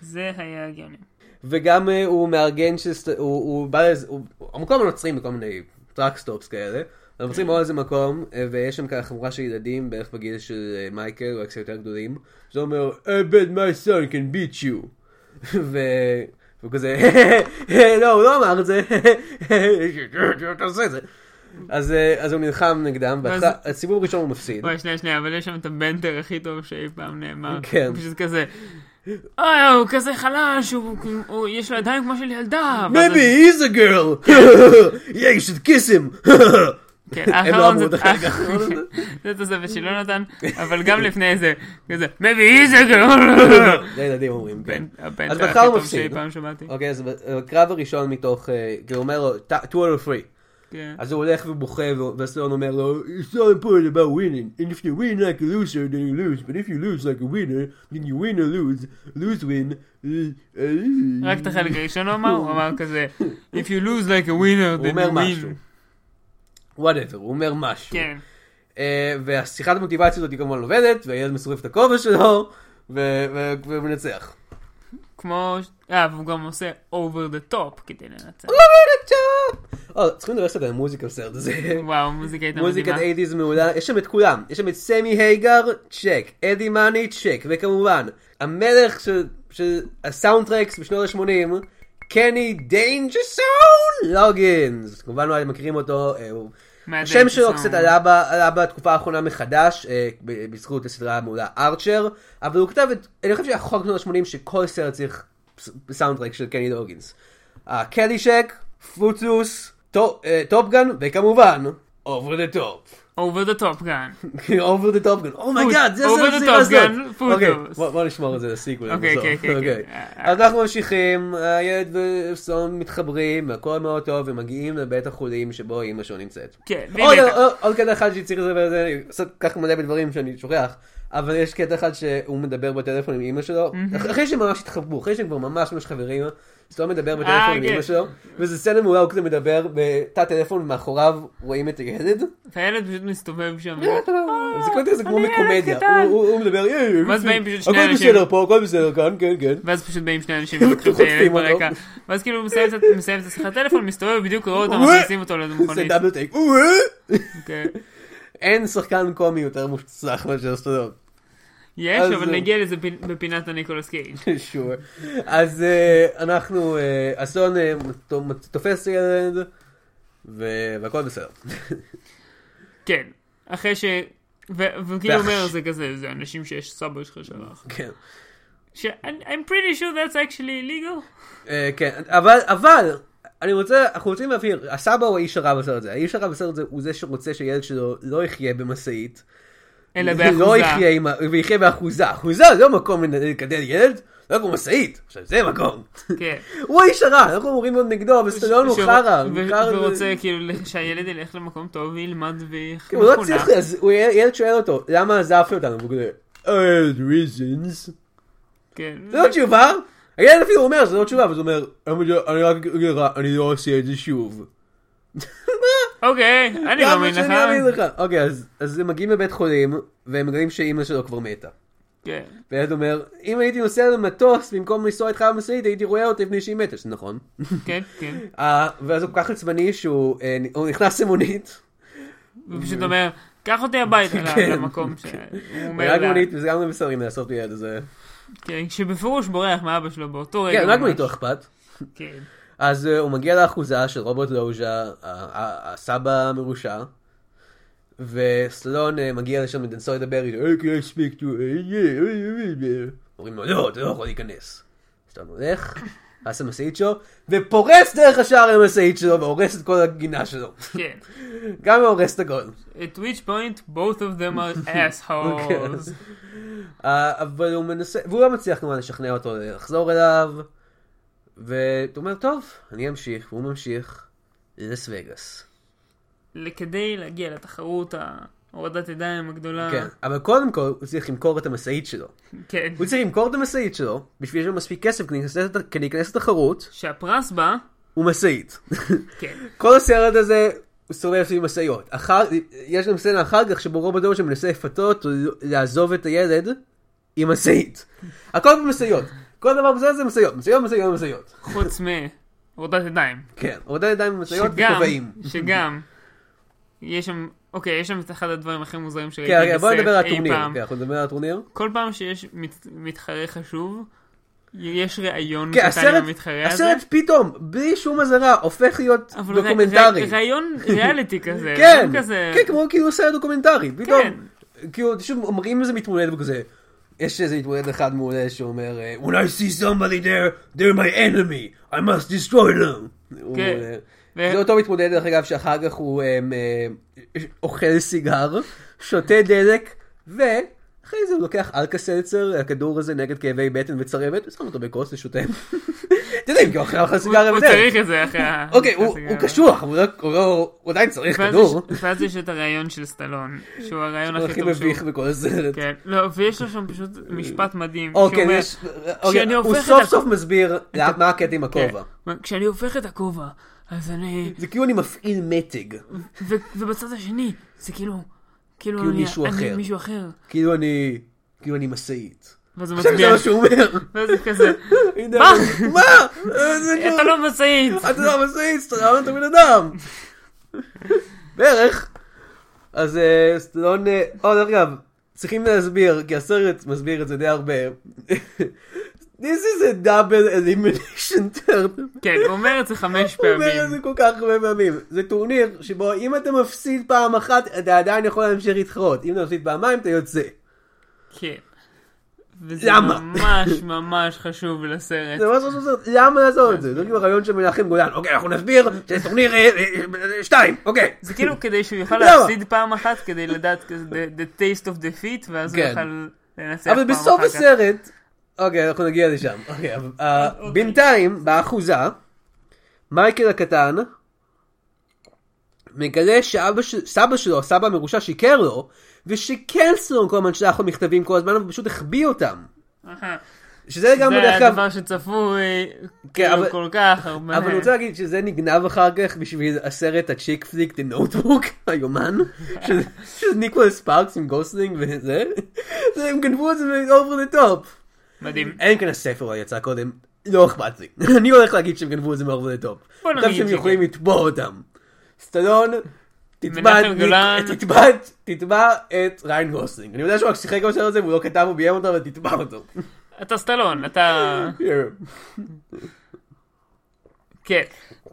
S2: זה היה הגיוני.
S1: וגם אה, הוא מארגן שסט... הוא, הוא בא לאיזה... הוא... המקום הנוצרים בכל מיני טראקסטופס כאלה.
S2: כן.
S1: הנוצרים באו לאיזה מקום, אה, ויש שם ככה חבורה של ילדים, בערך בגיל של אה, מייקל, או קצת יותר גדולים. זה אומר, I bet my son can beat you. *laughs* ו... והוא כזה, *laughs* לא, הוא לא אמר את זה, *laughs* אתה עושה את זה. אז, אה, אז הוא נלחם נגדם,
S2: ואז-
S1: והסיבוב הראשון הוא מפסיד.
S2: וואי, שנייה, שנייה, אבל יש שם את הבנטר הכי טוב שאי פעם נאמר.
S1: כן.
S2: פשוט כזה, אוי, הוא כזה חלש, הוא- הוא- יש לו ידיים כמו של ילדה. ואז-
S1: *laughs*
S2: *laughs*
S1: Maybe he's a girl! yeah, you should kiss him! *laughs*
S2: כן,
S5: הם לא
S2: האחרון
S5: אמרו
S2: זה...
S5: דרך אגב.
S2: *laughs* זה תוספת של יונתן, אבל גם לפני זה, כזה, maybe he's a girl.
S5: זה ילדים אומרים, כן.
S2: הבן- הבן
S1: אז
S2: הכי
S1: בהתחלה הוא
S2: טוב שאי
S1: מפסיד. *laughs*
S2: פעם שמעתי.
S1: אוקיי, אז בקרב הראשון מתוך, אה, כי הוא אומר לו, "Ta- two out of three.
S2: כן.
S1: אז הוא הולך ובוכה, ו- וסלון אומר לו, It's not important about winning, and if you win like a loser, then you lose, but if you lose like a winner, then you win or lose, lose win.
S2: רק את החלק הראשון הוא אמר, הוא אמר כזה, If you lose like a winner,
S1: הוא
S2: then
S1: אומר
S2: you
S1: משהו.
S2: win.
S1: וואטאבר, הוא אומר משהו.
S2: כן.
S1: אה, והשיחת המוטיבציה הזאת היא כמובן עובדת, והילד מסובב את הכובע שלו, ו- ו- ומנצח.
S2: כמו... אה, והוא גם עושה over the top כדי לנצח.
S1: לא! Oh או, Oh, צריכים לדבר קצת על המוזיקה בסרט הזה.
S2: וואו, מוזיקה הייתה
S1: מוזיקת
S2: מדהימה.
S1: 80's מעולה, יש שם את כולם, יש שם את סמי הייגר, צ'ק, אדי מאני, צ'ק, וכמובן, המלך של- של הסאונד טרקס בשנות ה-80, קני דיינג'סון לוגינס, כמובן לא מכירים אותו, אה, הוא-
S2: מה
S1: השם שלו
S2: דייווידסון.
S1: קצת עלה ב- עלה בתקופה האחרונה מחדש, אה, ב- בזכות הסדרה המעולה ארצ'ר, אבל הוא כתב את, אני חושב שהחוק בשנות ה-80 שכל סרט צריך ס- סאונד טרק של קני לוגינס. אה, קלי שק, פוצוס, טופגן, וכמובן, אובר דה *laughs* טופ.
S2: over the top כן. gun.
S1: אובר דה טופגן, אומייגאד, Oh זה
S2: Over
S1: הסרט
S2: the
S1: הסדרה
S2: Top
S1: הזאת.
S2: Gun, פוצוס.
S1: אוקיי, בוא בוא נשמור את זה לסיקוול.
S2: אוקיי,
S1: בסוף.
S2: כן, כן, כן.
S1: אוקיי.
S2: אה,
S1: אז אנחנו ממשיכים, הילד וסון מתחברים, הכל מאוד טוב, ומגיעים לבית החולים שבו אימא שלו נמצאת.
S2: כן,
S1: עוד-
S2: והנה-
S1: עוד- עוד קטע אחד שצריך לדבר על זה, קצת ככה מלא בדברים שאני שוכח, אבל יש קטע אחד שהוא מדבר בטלפון עם אימא שלו, אח- אחרי שהם ממש התחברו, אחרי שהם כבר ממש ממש חברים, אז הוא מדבר בטלפון עם
S2: כן.
S1: אימא שלו, וזה סצנה מעולה, הוא כזה מדבר בתא טלפון, ומאחוריו רואים את הילד.
S2: והילד פשוט מסתובב שם.
S1: זה כמו כזה כמו
S2: אני ילד
S1: מקומדיה,
S2: קטן.
S1: הוא- הוא הוא מדבר, "אה, "היי,
S2: ואז באים פשוט שני
S1: הכל
S2: אנשים.
S1: בסדר פה, הכל בסדר כאן, כן, כן.
S2: ואז פשוט באים שני
S1: *laughs*
S2: אנשים
S1: חוטפים
S2: ולוקחים את הילד
S1: אותו.
S2: ברקע. ואז כאילו הוא מסיים את- מסיים את השיחת טלפון, מסתובב בדיוק רואה
S1: *laughs*
S2: אותם,
S1: וואי.
S2: מכניסים אותו לאיזה
S1: זה
S2: מכונית.
S1: דאבל טייק, "אה?"
S2: *laughs* כן.
S1: אין שחקן קומי יותר מוצלח מאשר סטודות.
S2: יש,
S1: אז-
S2: אבל נגיע לזה פי- בפינת הניקולס קייג'.
S1: שור. אז אה, אנחנו, אה, אסון אה, מת- תופס ילד, ו- והכל בסדר.
S2: כן. אחרי ש... ו- וכאילו
S1: ואח-
S2: אומר זה כזה, זה אנשים שיש סבא שלך שלח.
S1: כן.
S2: ש- I'm I'm pretty sure that's actually illegal.
S1: אה, כן, אבל, אבל, אני רוצה, אנחנו רוצים להבהיר, הסבא הוא האיש הרע בסרט הזה. האיש הרע בסרט הזה הוא זה שרוצה שהילד שלו לא יחיה במשאית.
S2: אלא
S1: לא
S2: באחוזה.
S1: יחיה עם, ה- ויחיה באחוזה. אחוזה זה לא מקום לגדל ילד, לא כמו משאית. עכשיו זה מקום. *laughs*
S2: כן.
S1: הוא האיש הרע, אנחנו אמורים להיות נגדו, אבל סטלון הוא
S2: שהוא-
S1: חרא.
S2: ו-
S1: הוא חרא-
S2: ורוצה כאילו שהילד ילך למקום טוב וילמד ויחכה.
S1: הוא לא צריך, אז הוא- ילד שואל אותו, למה עזבת אותנו? והוא כזה, "I had reasons.
S2: כן.
S1: זה לא תשובה. הילד אפילו אומר, זה לא תשובה, אבל הוא אומר, "אני לא- אני רק אגיד לך, אני לא עושה את זה שוב.
S2: אוקיי, אני נכון?
S1: למה
S2: מאמין
S1: שאני
S2: לך.
S1: אאמין לך? אוקיי, אז- אז הם מגיעים לבית חולים, והם מגלים שאימא שלו כבר מתה.
S2: כן.
S1: והילד אומר, אם הייתי נוסע למטוס במקום לנסוע איתך במשאית, הייתי רואה אותה לפני שהיא מתה, שזה נכון.
S2: כן, כן.
S1: אה, ואז הוא כל כך עצבני שהוא אה, נ- הוא נכנס למונית,
S2: הוא פשוט אומר, קח אותי
S1: *laughs*
S2: הביתה
S1: כן.
S2: ל- למקום ש... הוא אומר
S1: רק
S2: לה-
S1: מונית, וזה גם לא בסדר אם לעשות לילד הזה.
S2: כן, שבפירוש בורח מאבא שלו באותו רגע.
S1: כן, רק
S2: ממש.
S1: מונית לא אכפת.
S2: כן.
S1: אז אה, הוא מגיע לאחוזה של רוברט לוז'ה, ה- ה- הסבא המרושע, וסלון אה, מגיע לשם לנסות לדבר איתו, "Hey, can I speak to... אה, yeah, אה, אה, אה." אומרים לו, לא, אתה לא יכול להיכנס. סלון הולך, נכנס למשאית שלו, ופורץ דרך השער למשאית שלו, והורס את כל הגינה שלו. *laughs*
S2: כן.
S1: גם הורס את הכל.
S2: At which point both of
S1: *laughs*
S2: them are
S1: כן.
S2: assholes.
S1: אה, אבל הוא מנסה, והוא לא מצליח כמובן לשכנע אותו לחזור אליו, והוא אומר, טוב, אני אמשיך, והוא ממשיך ללס וגאס.
S2: כדי להגיע לתחרות ההורדת ידיים הגדולה.
S1: כן, אבל קודם כל הוא צריך למכור את המשאית שלו.
S2: כן.
S1: הוא צריך למכור את המשאית שלו בשביל שיהיה לו מספיק כסף כדי להיכנס לת- כדי להיכנס לתחרות,
S2: שהפרס בה,
S1: הוא משאית. *laughs*
S2: כן.
S1: כל הסרט הזה הוא סובב סביב משאיות. אחר- יש גם סצנה אחר כך שבו רוברט דורשן מנסה לפתות או לעזוב את הילד עם משאית. הכל במשאיות. כל דבר בזה זה משאיות, משאיות, משאיות, משאיות.
S2: חוץ מהורדת ידיים.
S1: כן, הורדה ידיים עם משאיות
S2: שגם,
S1: וכובעים.
S2: שגם, יש שם, אוקיי, יש שם את אחד הדברים הכי מוזרים שראיתי
S1: כן, בוא נדבר על
S2: אי
S1: הטורניר.
S2: פעם.
S1: כן, אנחנו נדבר על הטורניר.
S2: כל פעם שיש מת, מתחרה חשוב, יש ראיון
S1: כן,
S2: קטן עם
S1: הסרט,
S2: המתחרה הזה.
S1: הסרט פתאום, בלי שום אזהרה, הופך להיות
S2: אבל ר-
S1: דוקומנטרי.
S2: ר-
S1: *laughs*
S2: ראיון ריאליטי כזה.
S1: כן,
S2: לא כזה...
S1: כן, כמו כאילו סרט דוקומנטרי,
S2: כן.
S1: פתאום, כאילו, שוב, אומרים איזה מתמודד וכזה, יש איזה מתמודד אחד מעולה שאומר, אה, When I see somebody there, they're my enemy, I must destroy them. הוא,
S2: כן.
S1: אה,
S2: ו-
S1: זה אותו מתמודד, דרך אגב, שאחר כך הוא אמ, אמ, אוכל סיגר, שותה דלק, ואחרי זה הוא לוקח אלקסלצר, הכדור הזה נגד כאבי בטן וצרבת, ושם אותו בכוס ושותה. *laughs* אתה יודע, אם כי הוא אוכל אוכל סיגר
S2: הוא
S1: אבל זה-
S2: צריך את זה אחרי ה...
S1: *laughs* אוקיי, הוא-
S2: אחרי
S1: הוא
S2: הסיגריה.
S1: קשוח, הוא רק- הוא לא- הוא עדיין צריך
S2: ואז
S1: כדור.
S2: יש- ואז יש את הראיון של סטלון, שהוא הראיון
S1: הוא
S2: הכי
S1: הכי
S2: טוב שהוא...
S1: מביך בכל הסרט.
S2: כן, לא, ויש לו שם פשוט משפט מדהים.
S1: אוקיי,
S2: שאומר,
S1: יש... אוקיי, הוא
S2: הופכת
S1: סוף
S2: את-
S1: סוף מסביר למה- מה הקטע עם
S2: כן,
S1: הכובע.
S2: כשאני הופך את הכובע, אז אני...
S1: זה כאילו אני מפעיל מתג.
S2: ו- ובצד השני, זה כאילו... כאילו
S1: כאילו
S2: אני-
S1: מישהו
S2: אני
S1: אחר.
S2: מישהו אחר.
S1: כאילו אני... כאילו אני משאית.
S2: ואז הוא
S1: עכשיו זה
S2: מצביע.
S1: מה שהוא אומר.
S2: ואז זה כזה,
S1: הנה,
S2: מה?
S1: מה? זה כאילו-
S2: אתה לא
S1: *laughs*
S2: משאית.
S1: אתה לא מזעיץ, אתה רעיון את הבן אדם. בערך. אז אה, סטלון, אה, או דרך אגב, צריכים להסביר, כי הסרט מסביר את זה די הרבה. *laughs* This is a double elimination tournament.
S2: כן, הוא אומר את זה חמש
S1: הוא אומר את
S2: פעמים.
S1: זה כל כך הרבה פעמים. זה טורניר שבו אם אתה מפסיד פעם אחת, אתה עדיין יכול להמשיך להתחרות. אם אתה מפסיד פעמיים, אתה יוצא.
S2: כן. וזה
S1: למה?
S2: ממש ממש חשוב לסרט.
S1: זה לא- ממש ממש ממש, למה לעשות את זה? זה כאילו הרעיון של מנחם גולן. אוקיי, אנחנו נסביר שזה טורניר אה, אה, אה, שתיים, אוקיי.
S2: זה
S1: *laughs*
S2: כאילו כדי שהוא יוכל
S1: למה?
S2: להפסיד פעם אחת כדי לדעת כזה the- the taste of defeat ואז הוא
S1: כן.
S2: יוכל לנצח פעם אה. אחר
S1: אבל
S2: כך.
S1: בסוף הסרט, אוקיי, אנחנו נגיע לשם. אוקיי, אבל, אה, בינתיים, באחוזה, מייקל הקטן מגלה שאבא של- סבא שלו, הסבא המרושע, שיקר לו, ושכן סלון כל הזמן שלח לו מכתבים כל הזמן, ופשוט החביא אותם.
S2: אהה.
S1: שזה גם,
S2: זה
S1: דרך אגב,
S2: הדבר שצפוי
S1: כן,
S2: כאילו
S1: אבל-
S2: כל כך הרבה.
S1: אבל אני רוצה להגיד שזה נגנב אחר כך בשביל הסרט הצ'יק פליק, The Notebook, *laughs* היומן, של של ניקולס ספארקס עם גוסלינג וזה, זה, הם גנבו את זה ב-over the top.
S2: מדהים.
S1: אלא אם כן הספר יצא קודם, לא אכפת לי. *laughs* אני הולך להגיד שהם גנבו את זה מאור ולטופ.
S2: בוא נגיד כן.
S1: עכשיו שהם
S2: שכן.
S1: יכולים לתבוע אותם. סטלון, תתבע
S2: מנחם
S1: את-
S2: גולן.
S1: תתבע את- תתבע את ריין גוסלינג. אני יודע שהוא רק שיחק בסרט הזה והוא לא כתב או ביים אותו, אבל תתבע אותו. *laughs*
S2: אתה סטלון, אתה... כן.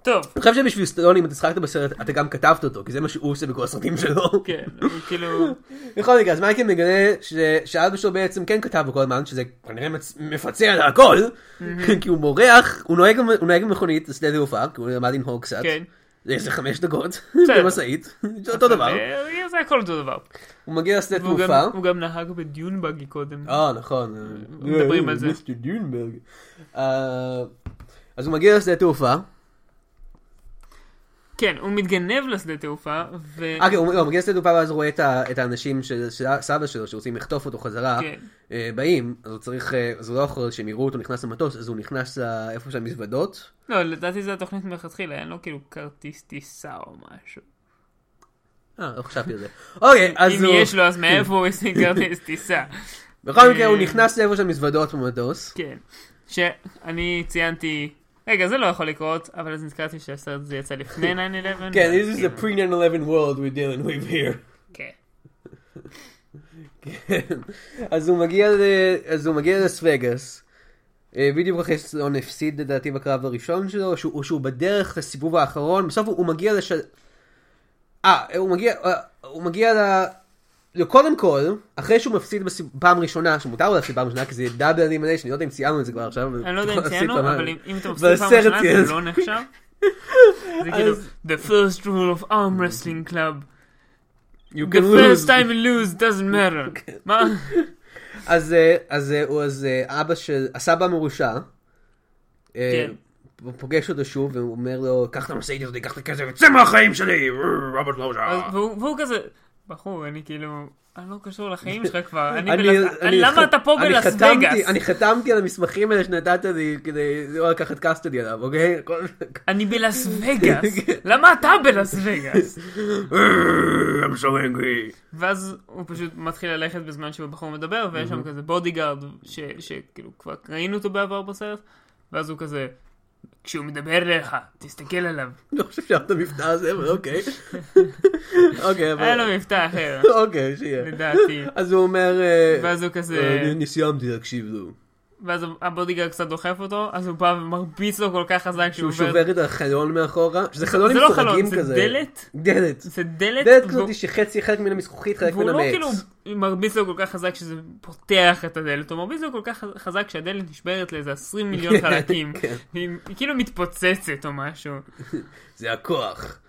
S2: טוב,
S1: אני חושב שבשביל סטלון, אם אתה שחקת בסרט, אתה גם כתבת אותו, כי זה מה שהוא עושה בכל הסרטים שלו.
S2: כן, הוא
S1: *laughs*
S2: כאילו...
S1: בכל מקרה, אז מייקל מגלה ש- שאבא שלו בעצם כן כתב בכל הזמן, שזה כנראה מצ- מפצה על הכל, כי הוא מורח, הוא נוהג- הוא נוהג במכונית לשדה תעופה, כי הוא למד לנהוג קצת.
S2: כן.
S1: זה איזה חמש דקות,
S2: בסדר.
S1: במשאית, זה אותו דבר.
S2: אה, זה הכל אותו דבר.
S1: הוא מגיע לשדה
S2: והוא גם-
S1: תעופה.
S2: הוא גם נהג בדיונבגי קודם.
S1: אה, נכון.
S2: מדברים על זה.
S1: מיסטר דיונברג. אה, אז הוא מגיע לשדה תעופה.
S2: כן, הוא מתגנב לשדה תעופה, ו...
S1: אה, כן, הוא לא, הוא מגיע לשדה תעופה ואז הוא רואה את ה- את האנשים של של סבא שלו שרוצים לחטוף אותו חזרה.
S2: כן.
S1: אה, באים, אז הוא צריך, אה, אז הוא לא יכול שהם יראו אותו נכנס למטוס, אז הוא נכנס ל- איפה שהמזוודות.
S2: לא, לדעתי זה התוכנית מלכתחילה, אין לו כאילו כרטיס טיסה או משהו.
S1: אה, לא חשבתי על זה. אוקיי, אז
S2: אם
S1: הוא...
S2: יש לו, אז מאיפה הוא השיג כרטיס טיסה?
S1: בכל מקרה, הוא נכנס לאיפה שהמזוודות במטוס.
S2: כן. שאני ציינתי, רגע, זה לא יכול לקרות, אבל אז נזכרתי שהסרט הזה
S1: *laughs*
S2: יצא לפני 9-11.
S1: כן,
S2: ואז
S1: this is
S2: כאילו-
S1: a pre-9-11 world we're dealing with here.
S2: כן.
S1: כן. אז הוא מגיע ל... אז הוא מגיע ללס וגאס. אה, בדיוק אחרי שסלון הפסיד לדעתי בקרב הראשון שלו, שהוא, או שהוא בדרך לסיבוב האחרון, בסוף הוא, הוא מגיע לש... אה, הוא מגיע, אה, הוא מגיע ל... לא, קודם כל, אחרי שהוא מפסיד בסיב... פעם ראשונה, שמותר לו להפסיד פעם ראשונה, כי זה דאבל אלימיניישן, אני לא יודע אם ציינו את זה כבר עכשיו. אבל
S2: אני לא יודע אם
S1: *laughs* להפסיד
S2: ציינו,
S1: פעמיים.
S2: אבל אם אם אתה מפסיד פעם
S1: והסרט
S2: ראשונה
S1: יהיה-
S2: זה לא
S1: *laughs*
S2: נחשב. זה כאילו,
S1: אז-
S2: the first rule of arm wrestling club.
S1: You
S2: The
S1: can
S2: first
S1: lose.
S2: time you lose doesn't matter. מה?
S1: אז, אה, אז, אה, הוא- אז אה, אבא של, הסבא המרושע, אה,
S2: כן.
S1: הוא פוגש אותו שוב והוא אומר לו, קח את המשאית הזאת, קח את הכסף, צא מהחיים שלי, רוברט
S2: אז-
S1: לוז'ה.
S2: והוא והוא כזה, בחור, אני כאילו, אני לא קשור לחיים שלך כבר. אני
S1: אני-
S2: בלס-
S1: אני
S2: למה
S1: ח-
S2: אתה פה
S1: אני
S2: בלאס
S1: חתמתי-
S2: וגאס?
S1: אני חתמתי על המסמכים האלה שנתת לי כדי לא לקחת קאסטודי עליו, אוקיי? כל-
S2: אני בלאס
S1: *laughs*
S2: וגאס. למה אתה בלאס וגאס?
S1: I'm so angry.
S2: ואז הוא פשוט מתחיל ללכת בזמן שהבחור מדבר, ויש שם כזה בודיגארד, ש- שכאילו כבר ראינו אותו בעבר בסרט, ואז הוא כזה, כשהוא מדבר אליך, תסתכל
S1: *laughs*
S2: עליו.
S1: אני לא חושב שאהבת את המבטא הזה, אבל אוקיי. אוקיי,
S2: היה
S1: אבל...
S2: לו מבטא אחר,
S1: אוקיי, שיהיה. *laughs*
S2: לדעתי.
S1: אז הוא אומר... אה,
S2: ואז הוא כזה,
S1: אה, אני סיימתי להקשיב לו.
S2: ואז הבודיגר קצת דוחף אותו, אז הוא בא ומרביץ לו כל כך חזק
S1: שהוא
S2: שהוא עובר...
S1: שובר את החלון מאחורה, שזה חלון עם
S2: זה לא
S1: סורגים
S2: חלון, זה
S1: כזה.
S2: דלת? *laughs*
S1: דלת.
S2: זה דלת,
S1: דלת
S2: והוא-
S1: כזאת שחצי חלק מן המזכוכית, חלק
S2: והוא
S1: מן
S2: לא
S1: המעץ.
S2: כאילו מרביץ לו כל כך חזק שזה פותח את הדלת, הוא מרביץ לו כל כך חזק שהדלת נשברת לאיזה 20 מיליון חלקים.
S1: *laughs* כן.
S2: היא היא כאילו מתפוצצת או משהו.
S1: זה הכוח.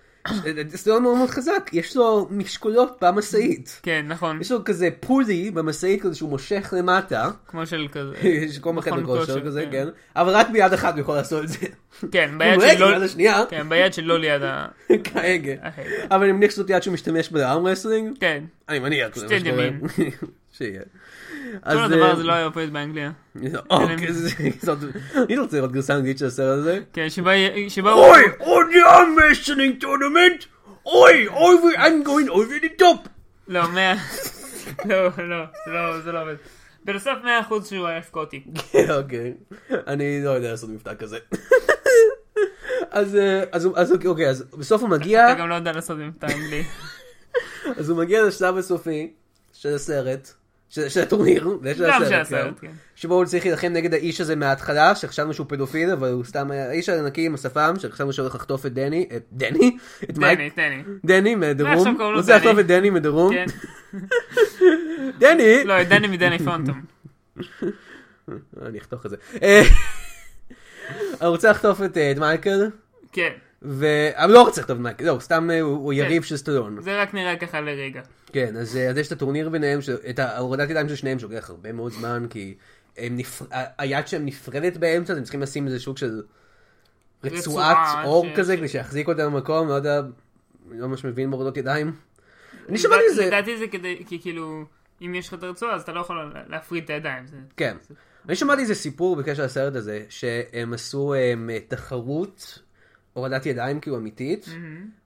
S1: זה לא מאוד מאוד חזק, יש לו משקולות במשאית.
S2: כן, נכון,
S1: יש לו כזה פולי במשאית כזה שהוא מושך למטה. *laughs*
S2: כמו של כזה.
S1: יש כל מיני
S2: מכון
S1: חדר כושר
S2: כושר,
S1: כזה,
S2: כן.
S1: כן. אבל רק ביד אחת הוא יכול לעשות את זה.
S2: כן, *laughs* ביד
S1: הוא
S2: של
S1: רגל,
S2: לא...
S1: ביד השנייה.
S2: כן, ביד של לא ליד
S1: *laughs*
S2: ה...
S1: כהגה.
S2: ההגה.
S1: אבל אני מניח שזאת יד שהוא משתמש בה לארם רסלינג.
S2: כן.
S1: אני מניח שזה מה
S2: שתי
S1: שקורה.
S2: ימים.
S1: *laughs* שיהיה.
S2: כל
S1: אז,
S2: הדבר
S1: אה,
S2: הזה
S1: *laughs*
S2: לא היה עובד באנגליה.
S1: אוקיי, זה- *laughs* זאת- אני רוצה לראות גרסה אנגלית של הסרט הזה.
S2: כן, שבה... יהיה- שבה הוא...
S1: אוי, עוד יום רסלינג טורנמנט. אוי, אוי, I'm going over the top.
S2: לא, מאה... לא, לא, זה לא- זה לא עובד. בנוסף 100% שהוא היה סקוטי.
S1: אוקיי, אני לא יודע לעשות מבטא כזה. אז אה, אז הוא- אז אוקיי, אוקיי, אז בסוף הוא מגיע,
S2: אתה גם לא יודע לעשות עם האנגלי.
S1: אז הוא מגיע לשלב הסופי של הסרט, של של הטורניר, ושל
S2: גם של
S1: הסרט,
S2: הסרט,
S1: כן.
S2: כן.
S1: שבו הוא צריך להילחם נגד האיש הזה מההתחלה, שחשבנו שהוא פדופיל, אבל הוא סתם היה האיש הענקי עם השפם, שחשבנו שהולך לחטוף את דני, את דני? את מייק?
S2: תני, תני.
S1: דני מדרום,
S2: עכשיו
S1: הוא
S2: קוראים לו
S1: רוצה
S2: דני.
S1: לחטוף את דני מדרום,
S2: כן.
S1: דני!
S2: לא, דני מדני פונטום.
S1: אני אחתוך את זה. אה, הוא רוצה לחטוף את אה, את מייקל,
S2: כן.
S1: ו... אבל לא רוצה לכתוב את מייקל, לא, הוא סתם אה, הוא הוא יריב של סטלון.
S2: זה רק נראה ככה לרגע.
S1: כן, אז אה, אז יש את הטורניר ביניהם, ש- את ההורדת ידיים של שניהם שלוקח הרבה מאוד זמן, כי הם נפר- ה- היד שלהם נפרדת באמצע, אז הם צריכים לשים איזה שוק של רצועת
S2: רצועה
S1: אור
S2: ש-
S1: כזה,
S2: ש-
S1: כדי שיחזיק אותה במקום, לא יודע, לא ממש מבין בהורדות ידיים. אני שמעתי
S2: לדע-
S1: את זה,
S2: לדעתי זה כדי, כי כאילו, אם יש לך את הרצועה, אז אתה לא יכול לה- להפריד את הידיים. זה-
S1: כן. אני שמעתי איזה סיפור בקשר לסרט הזה, שהם עשו הם, תחרות הורדת ידיים כאילו אמיתית,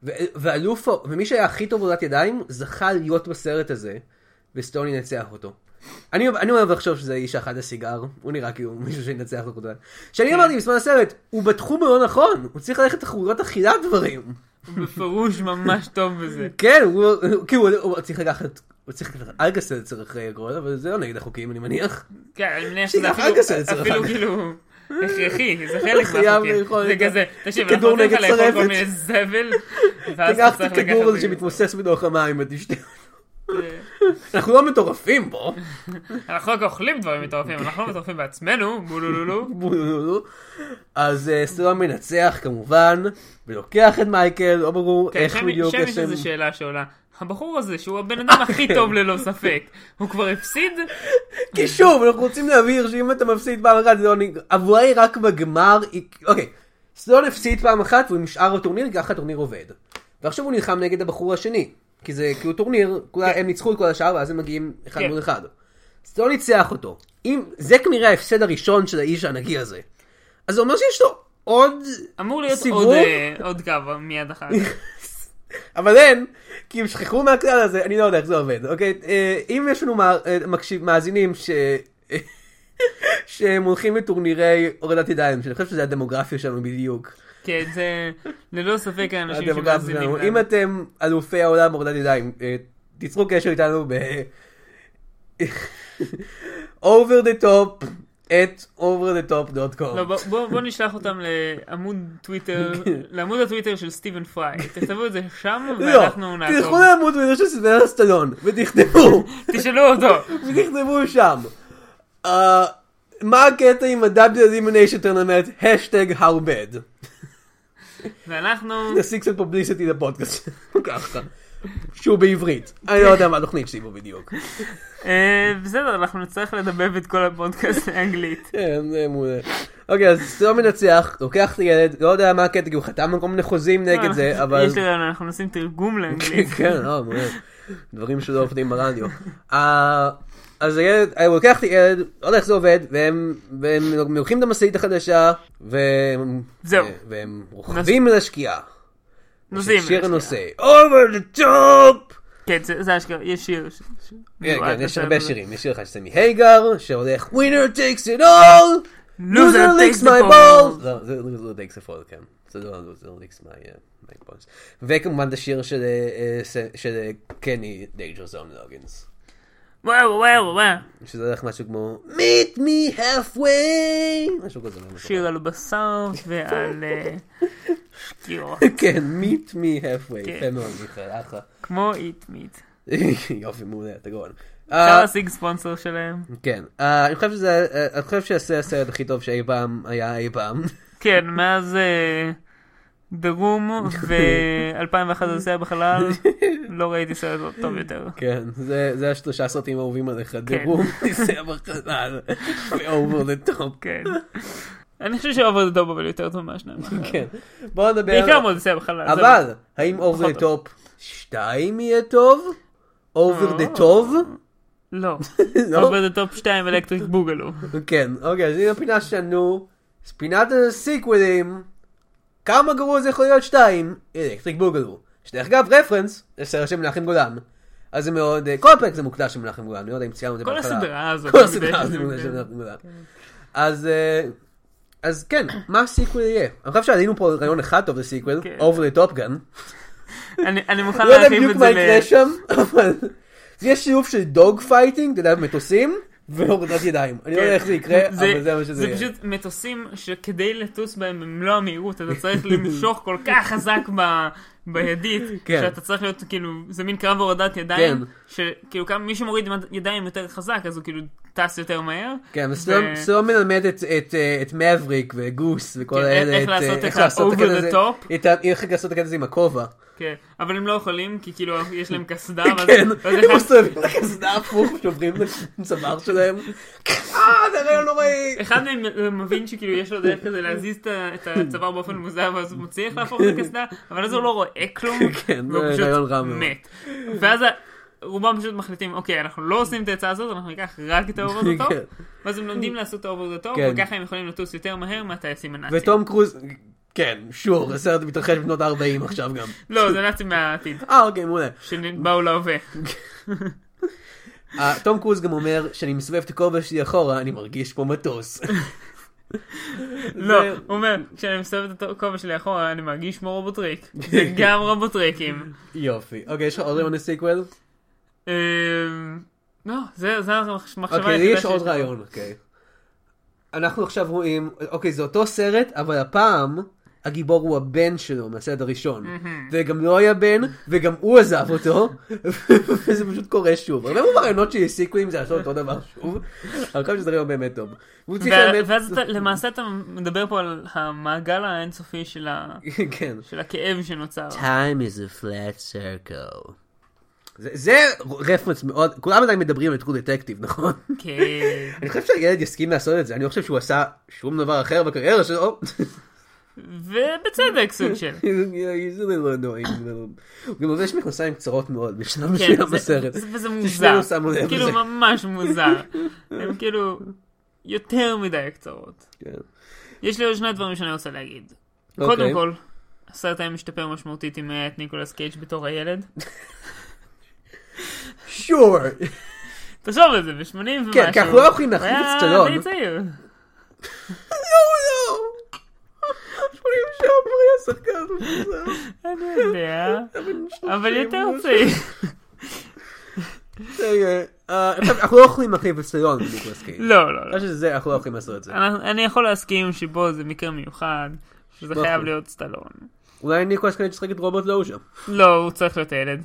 S1: ו- ואלוף, ה- ומי שהיה הכי טוב בהורדת ידיים, זכה להיות בסרט הזה, וסטון ינצח אותו. אני, אני אוהב לחשוב שזה האיש האחד הסיגר, הוא נראה כאילו מישהו שינצח אותו. שאני אמרתי בזמן הסרט, הוא בתחום הלא נכון, הוא צריך ללכת תחרויות אכילת דברים.
S2: הוא בפירוש ממש טוב בזה.
S1: כן, הוא, הוא- כאילו, הוא, הוא צריך לקחת, הוא צריך לקחת ארגסל צריך לקרוא, אבל זה לא נגד החוקים אני מניח.
S2: כן, אני מניח
S1: שיהיה
S2: שזה
S1: אחר כך זה
S2: אפילו, אפילו
S1: אצלך.
S2: כאילו, הכרחי, זה חלק
S1: חייב לאכול
S2: מהחוקים. זה
S1: את ה-
S2: כזה, תקשיב,
S1: כדור
S2: אנחנו נותנים לך
S1: נגד
S2: לאכול כל
S1: צרבת.
S2: מיני זבל, ואז
S1: תיקח
S2: אתה
S1: את
S2: צריך לקחת
S1: הכדור הזה
S2: מזה.
S1: שמתמוסס בתוך המים ותשתה.
S2: זה-
S1: אנחנו לא מטורפים פה.
S2: אנחנו רק אוכלים דברים מטורפים, אנחנו לא מטורפים בעצמנו, בולולולו.
S1: אז אה, סטלון מנצח כמובן, ולוקח את מייקל, לא ברור
S2: כן,
S1: *laughs* איך
S2: שם-
S1: בדיוק
S2: שם יש
S1: השם.
S2: איזו שאלה שעולה. הבחור הזה, שהוא הבן אדם הכי טוב ללא ספק, הוא כבר הפסיד?
S1: כי שוב, אנחנו רוצים להבהיר שאם אתה מפסיד פעם אחת, זה לא נג- הבועה היא רק בגמר, היא- אוקיי. סטלון הפסיד פעם אחת והוא נשאר בטורניר, כי ככה הטורניר עובד. ועכשיו הוא נלחם נגד הבחור השני, כי זה כאילו טורניר, כולה- הם ניצחו את כל השאר ואז הם מגיעים אחד
S2: כן.
S1: מול אחד. סטלון ניצח אותו. אם- זה כנראה ההפסד הראשון של האיש הענקי הזה. אז זה אומר שיש לו עוד
S2: אמור להיות
S1: סיבוב?
S2: עוד, אה, עוד קו מיד אחר
S1: *laughs*
S2: כך.
S1: אבל אין, כי הם שכחו מהכלל הזה, אני לא יודע איך זה עובד, אוקיי? אה, אם יש לנו מא- אה, מקשיב- מאזינים ש... *laughs* שהם הולכים לטורנירי הורדת ידיים, שאני חושב שזה הדמוגרפיה שלנו בדיוק.
S2: כן, זה ללא ספק האנשים
S1: הדמוגרפיה
S2: שמאזינים
S1: שלנו.
S2: לנו.
S1: אם אתם אלופי העולם הורדת ידיים, אה, תיצרו קשר איתנו ב... *laughs* over the top at overthetop.com.
S2: לא, בוא- בוא בוא נשלח אותם לעמוד
S1: *laughs*
S2: טוויטר, לעמוד הטוויטר של סטיבן פריי. תכתבו את זה שם,
S1: לא,
S2: ואנחנו
S1: תלכו
S2: נעקוב.
S1: לעמוד בזה של סילבסטר סטלון
S2: *laughs*
S1: ותכתבו.
S2: תשאלו אותו.
S1: ותכתבו שם. אה, מה הקטע עם ה-W Elimination Tournament, השטג How bad.
S2: ואנחנו,
S1: נשיג קצת פובליסיטי לפודקאסט. *laughs* ככה. שהוא בעברית. אני לא יודע מה התוכנית שלי פה בדיוק.
S2: אה, בסדר, אנחנו נצטרך לדבב את כל
S1: *laughs*
S2: הפודקאסט לאנגלית.
S1: כן, זה מעולה. אוקיי, אז סטלון מנצח, לוקח את הילד, לא יודע מה הקטע, כי הוא חתם על כל מיני חוזים נגד זה, אבל...
S2: אה, יש לי רעיון, אנחנו נשים תרגום לאנגלית.
S1: כן, לא, מעולה. דברים שלא עובדים ברדיו. אה, אז הילד, אני לוקח את הילד, לא יודע איך זה עובד, והם והם לוקחים את המשאית החדשה, והם...
S2: זהו.
S1: והם רוכבים לשקיעה.
S2: נוסעים.
S1: שיר הנושא. Over the top!
S2: כן, זה זה אשכרה, יש שיר. ש- ש-
S1: כן,
S2: מיועד
S1: כן, יש
S2: לסרט
S1: הרבה
S2: הזה.
S1: שירים. יש שיר אחד של סמי הייגר, שהולך winner takes it all! loser takes
S2: takes
S1: my
S2: the
S1: balls! לא, זה loser takes the fall, כן. זה לא loser takes my אה, my balls. וכמובן את השיר של אה, אה, ס- של, אה, קני דייג'ר זון לוגינס.
S2: וואו וואו וואו.
S1: שזה הולך משהו כמו meet me halfway משהו כזה. לא משהו. *laughs*
S2: שיר על בשר ועל אה, שקיעות.
S1: כן, meet me halfway,
S2: כן.
S1: יפה מאוד מיכאל, אחלה.
S2: כמו איט מיט.
S1: *laughs* יופי, מעולה, אתה גאון.
S2: אפשר
S1: אה,
S2: להשיג ספונסר שלהם.
S1: כן, אה, אני חושב שזה, אה, אני חושב שזה הסרט הכי טוב שאי פעם היה אי פעם. *laughs*
S2: כן, מאז אה, דרום ו-2011 בחלל, לא ראיתי סרט טוב יותר.
S1: כן, זה זה השלושה סרטים האהובים עליך,
S2: כן.
S1: דירום, *laughs* ניסה בחלל, ו-over the top.
S2: כן. אני חושב שאובר דה דוב אבל יותר טוב מהשניים. האחרים.
S1: כן, בואו נדבר,
S2: בעיקר מודסי בחלל. זה-
S1: אבל האם over
S2: פחות
S1: the top 2 יהיה טוב? over
S2: אה,
S1: the טוב?
S2: לא.
S1: לא?
S2: אובר דה טופ 2 אלקטריק בוגלו.
S1: כן, אוקיי, אז הנה הפינה שלנו, אז פינת הסיקווילים, כמה גרוע זה יכול להיות שתיים, אלקטריק בוגלו. שדרך אגב, רפרנס, זה סרט של מנחם גולן. אז זה מאוד, אה, כל הפרק זה מוקדש של מנחם גולן, אני לא יודע אם ציינו את זה
S2: כל
S1: בהתחלה.
S2: הסדרה הזאת.
S1: כל הסדרה
S2: אני
S1: הזאת
S2: יודע.
S1: מוקדש של מנחם גולן. אז... אה, אז כן, מה הסיקוויל יהיה? אני חושב שעלינו פה על רעיון אחד טוב לסיקוויל,
S2: כן.
S1: over the top gun.
S2: אני- אני מוכן
S1: לא יודע
S2: להרחיב
S1: בדיוק
S2: את
S1: מה
S2: זה
S1: יקרה
S2: ל...
S1: שם, אבל יש שילוב של דוג פייטינג, אתה יודע, מטוסים, והורדת ידיים. אני לא יודע איך זה יקרה, אבל זה מה שזה
S2: כן. זה
S1: יהיה.
S2: פשוט מטוסים שכדי לטוס בהם במלוא המהירות אתה צריך למשוך כל כך חזק ב... בידית,
S1: *laughs* כן.
S2: שאתה צריך להיות כאילו, זה מין קרב הורדת ידיים,
S1: כן.
S2: שכאילו כמה- מי שמוריד ידיים יותר חזק אז הוא כאילו טס יותר מהר.
S1: כן, אבל סלום- סלום מלמד את- את, אה, את מבריק וגוס וכל
S2: כן,
S1: האלה,
S2: איך
S1: את,
S2: לעשות
S1: אה,
S2: את ה- over
S1: הקטע
S2: the
S1: הזה-
S2: top.
S1: את ה- איך לעשות את הקטע הזה עם הכובע.
S2: כן, אבל הם לא יכולים, כי כאילו יש להם קסדה, ואז-
S1: *laughs* כן,
S2: ואז
S1: הם
S2: אחד-
S1: מסתובבים לחסדה הפוך, שוברים לצוואר שלהם. אה, זה רעיון נוראי.
S2: אחד מהם מבין שכאילו יש לו דרך כזה להזיז את ה- את הצוואר באופן מוזר ואז הוא מצליח להפוך את הקסדה, אבל אז הוא לא רואה כלום,
S1: *laughs* כן,
S2: והוא
S1: זה
S2: פשוט
S1: רעיון רע מאוד.
S2: מת. ואז ה- רובם פשוט מחליטים, אוקיי, אנחנו לא עושים את העצה הזאת, אנחנו ניקח רק את האובר דה טופ,
S1: כן.
S2: ואז הם לומדים לעשות את האובר דה טופ,
S1: כן.
S2: וככה הם יכולים לטוס יותר מהר מהטייסים הנאצים.
S1: וטום קרוז, כן, שור, הסרט מתרחש בשנות ה-40 עכשיו גם.
S2: לא, זה נאצים מהעתיד,
S1: אה, אוקיי, מעולה.
S2: שבאו להווה.
S1: אה, תום קרוז גם אומר, כשאני מסובב את הכובע שלי אחורה, אני מרגיש כמו מטוס. *laughs*
S2: לא,
S1: זה-
S2: הוא אומר, כשאני מסובב את הכובע שלי אחורה, אני מרגיש כמו רובוטריק. זה
S1: *laughs*
S2: גם רובוטריקים.
S1: יופי. אוקיי, יש לך עוד רעיון לסיקוול?
S2: אמ, לא, זה זה המחשבה
S1: אוקיי, לי
S2: היחידה
S1: יש עוד
S2: שיש לי.
S1: רעיון, אוקיי. אנחנו עכשיו רואים, אוקיי, זה אותו סרט, אבל הפעם הגיבור הוא הבן שלו מהסרט הראשון. וגם לא היה בן, וגם הוא עזב אותו, *laughs* וזה פשוט קורה שוב. הרבה מאוד רעיונות שהעסיקו עם זה לעשות אותו דבר שוב, אני חושב שזה רעיון באמת טוב. והוא *laughs* צריך
S2: וה-
S1: באמת...
S2: ואז אתה- למעשה אתה מדבר פה על המעגל האינסופי של ה-
S1: *laughs* כן.
S2: של
S1: *laughs*
S2: הכאב שנוצר.
S1: time is a flat circle. זה, זה רפרנס מאוד, כולם עדיין מדברים על טרו דטקטיב, נכון? *laughs*
S2: כן.
S1: אני חושב שהילד יסכים לעשות את זה, אני לא חושב שהוא עשה שום דבר אחר בקריירה שלו.
S2: ובצדק סוג
S1: *laughs*
S2: של.
S1: זה לא נועים. הוא גם לובש מכנסיים קצרות מאוד בשלב
S2: כן,
S1: מסוים
S2: זה-
S1: בסרט.
S2: זה- וזה מוזר.
S1: ששנינו שמו לב
S2: כאילו
S1: לזה.
S2: ממש מוזר.
S1: *laughs*
S2: הם כאילו יותר מדי קצרות.
S1: כן.
S2: יש לי עוד שני דברים שאני רוצה להגיד.
S1: אוקיי.
S2: קודם כל, הסרט היה משתפר משמעותית אם היה את ניקולס קייג' בתור הילד.
S1: שור.
S2: תחשוב על זה, ב-80 ומשהו.
S1: כן, כי אנחנו לא יכולים
S2: הוא
S1: להחליף את
S2: היה
S1: סטלון.
S2: די
S1: *laughs*
S2: צעיר.
S1: *laughs* לא, לא. שמונים שעה כבר היה שחקן.
S2: אני יודע,
S1: *laughs*
S2: אבל יותר
S1: אוקיי,
S2: צעיר.
S1: רגע, אה, אנחנו לא יכולים להחליף את סטיון בניקולס קייג'.
S2: לא, לא,
S1: אני
S2: לא.
S1: חושב שזה, אנחנו לא יכולים לעשות את זה.
S2: אני- אני יכול להסכים שבו זה מקרה מיוחד, שזה
S1: נכון.
S2: חייב להיות סטלון.
S1: אולי ניקולס קייג' ישחק את רוברט לאושה.
S2: לא, הוא צריך להיות הילד.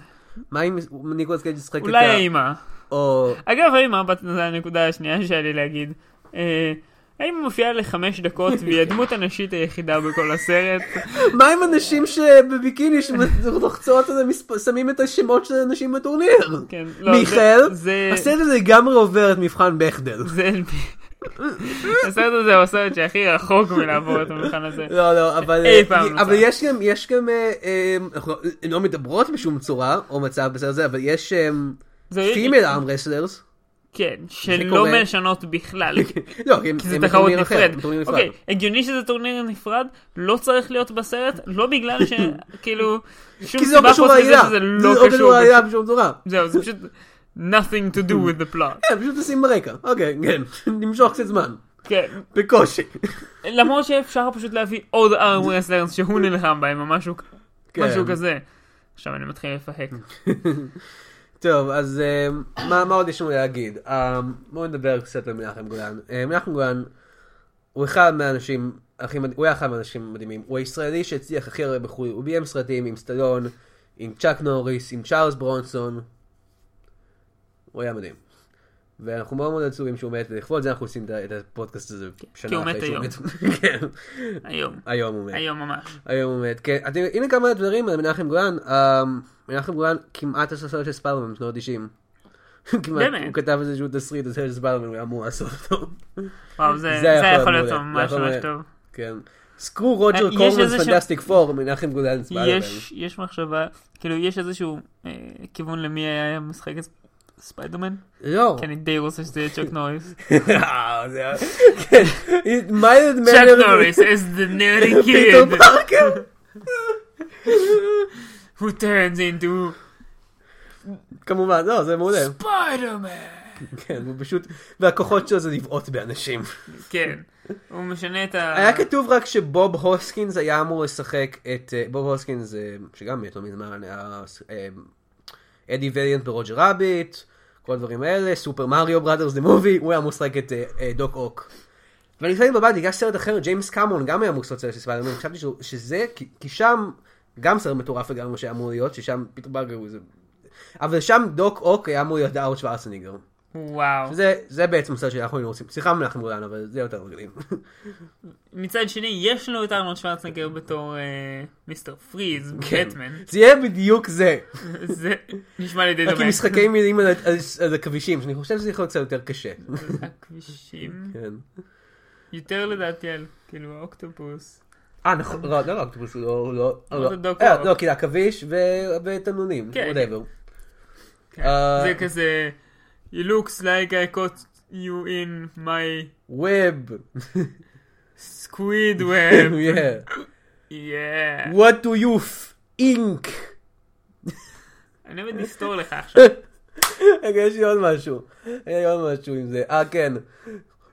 S1: מה אם ניקולס קייג' ישחק את ה...
S2: אולי האימא.
S1: או...
S2: אגב, האימא, בת- זו הנקודה השנייה שהיה לי להגיד. אה, האימא מופיעה לחמש דקות והיא הדמות הנשית היחידה בכל הסרט.
S1: מה עם אנשים שבביקיני שלוחצות על המספ- שמים את השמות של אנשים בטורניר?
S2: כן, לא, זה-
S1: מיכאל,
S2: זה-
S1: הסרט הזה לגמרי עובר את מבחן בכדל.
S2: זה... הסרט הזה הוא הסרט שהכי רחוק מלעבור את המבחן הזה.
S1: לא, לא, אבל...
S2: אי פעם
S1: אבל
S2: נוצר.
S1: יש גם, יש גם, אה, אה, אנחנו לא- לא מדברות בשום צורה או מצב בסרט הזה, אבל יש אה,
S2: זה-
S1: פימל
S2: אה,
S1: ארם רסלרס.
S2: כן, שלא
S1: קורה.
S2: משנות בכלל.
S1: לא, כי הם-
S2: כי זה
S1: הם
S2: תחרות
S1: בטורניר אחר,
S2: נפרד.
S1: הם בטורניר נפרד.
S2: אוקיי, הגיוני שזה טורניר נפרד, לא צריך להיות בסרט, לא בגלל ש...
S1: *laughs*
S2: כאילו, שום
S1: כי זה לא
S2: סיבה
S1: קשור
S2: חוץ מזה
S1: לעלילה.
S2: שזה
S1: זה
S2: לא
S1: לא
S2: קשור.
S1: קשור לעלילה בשום צורה.
S2: זהו, זה פשוט nothing to do with
S1: *laughs*
S2: the plot.
S1: כן, פשוט נשים ברקע. אוקיי, כן. *laughs* נמשוך קצת זמן.
S2: כן,
S1: בקושי.
S2: למרות שאפשר פשוט להביא עוד ארם רסלרס שהוא
S1: כן. *laughs*
S2: נלחם בהם, או משהו- משהו כזה. עכשיו אני מתחיל לפהק.
S1: טוב, אז אה, מה מה עוד יש לנו להגיד? אה, בואו נדבר קצת על מנחם גולן. אה, מנחם גולן הוא אחד מהאנשים הכי מדהימים, הוא היה אחד מהאנשים המדהימים. הוא הישראלי שהצליח הכי הרבה בחו"ל, הוא ביים סרטים עם סטלון, עם צ'אק נוריס, עם צ'ארלס ברונסון. הוא היה מדהים. ואנחנו מאוד מאוד עצובים שהוא מת, ולכבוד זה אנחנו עושים את ה- את הפודקאסט הזה
S2: כי הוא
S1: שנה
S2: מת
S1: אחרי שהוא
S2: היום.
S1: מת. *laughs* כן.
S2: היום.
S1: היום הוא מת.
S2: היום ממש.
S1: היום הוא מת. כן, אתם- הנה כמה דברים על מנחם גולן. אה, מנחם גולן כמעט הסרט של ספיירמן בשנות *laughs* ה-90.
S2: באמת?
S1: הוא כתב איזה שהוא תסריט, הסרט של ספיירמן, הוא היה אמור לעשות אותו.
S2: וואו, זה
S1: היה
S2: זה
S1: יכול
S2: יכול
S1: להיות
S2: להיות
S1: מעולה,
S2: ממש
S1: זה יכול
S2: ממש
S1: להיות-
S2: טוב.
S1: כן. סקרו רוג'ר
S2: אה, יש
S1: קורמנס
S2: איזה ש-
S1: פנדסטיק פור, מנחם גולן ספיירמן.
S2: יש, יש מחשבה, כאילו יש איזשהו אה, כיוון למי היה משחק את ספיידרמן?
S1: לא.
S2: כי אני די רוצה שזה יהיה צ'ק נוריס.
S1: *laughs* אה, זה היה- כן. It minded
S2: צ'ק
S1: manner-
S2: נוריס is the
S1: *laughs*
S2: nerdy
S1: פיטר
S2: kid
S1: פארקר.
S2: who turns into
S1: כמובן, לא, זה מעולה.
S2: ספיידרמן.
S1: כן, הוא פשוט... והכוחות שלו זה לבעוט באנשים.
S2: כן, הוא משנה את ה...
S1: היה כתוב רק שבוב הוסקינס היה אמור לשחק את... אה, בוב הוסקינס, אה, שגם מת לא מזמן, היה, אה, אדי וליאנט ברוג'ר רביט, כל הדברים האלה, סופר מריו בראדרס דה מובי, הוא היה אמור לשחק את אה, אה, דוק אוק. ואני לפעמים בבית, בגלל סרט אחר, ג'יימס קאמון גם היה אמור לעשות סרט של ספיידרמן, חשבתי שהוא- שזה, כי- כי שם, גם סרט מטורף לגמרי שהיה אמור להיות, ששם פיטר באגר הוא איזה... אבל שם דוק אוק היה אמור להיות דאוט שוורסניגר.
S2: וואו.
S1: זה, זה בעצם סרט שאנחנו היינו רוצים. סליחה מנחם גולן, אבל זה יותר מגניב. *laughs*
S2: מצד שני, יש לנו את ארנולד שוורצנגר בתור אה, מיסטר פריז,
S1: כן.
S2: בטמן. *laughs*
S1: זה יהיה בדיוק זה.
S2: זה נשמע לי די
S1: רק
S2: דומה.
S1: עם משחקי מילים על- על- על הכבישים, שאני חושב שזה יכול להיות קצת יותר קשה.
S2: הכבישים.
S1: כן.
S2: יותר לדעתי על כאילו האוקטופוס.
S1: אה, נכון, לא, לא, אוקטופוס, הוא לא, הוא לא, הוא
S2: אמרת
S1: לא,
S2: דוק
S1: אה,
S2: אוק.
S1: לא, כי זה עכביש ו- ותנונים,
S2: כן.
S1: whatever.
S2: כן.
S1: אה.
S2: זה כזה, he looks like I caught you in my
S1: ווב,
S2: squid
S1: *laughs*
S2: web.
S1: yeah.
S2: Yeah.
S1: what do you f- ink?
S2: אני באמת אסתור
S1: *laughs*
S2: לך עכשיו.
S1: רגע, יש לי עוד משהו, היה לי עוד משהו עם זה, אה, כן.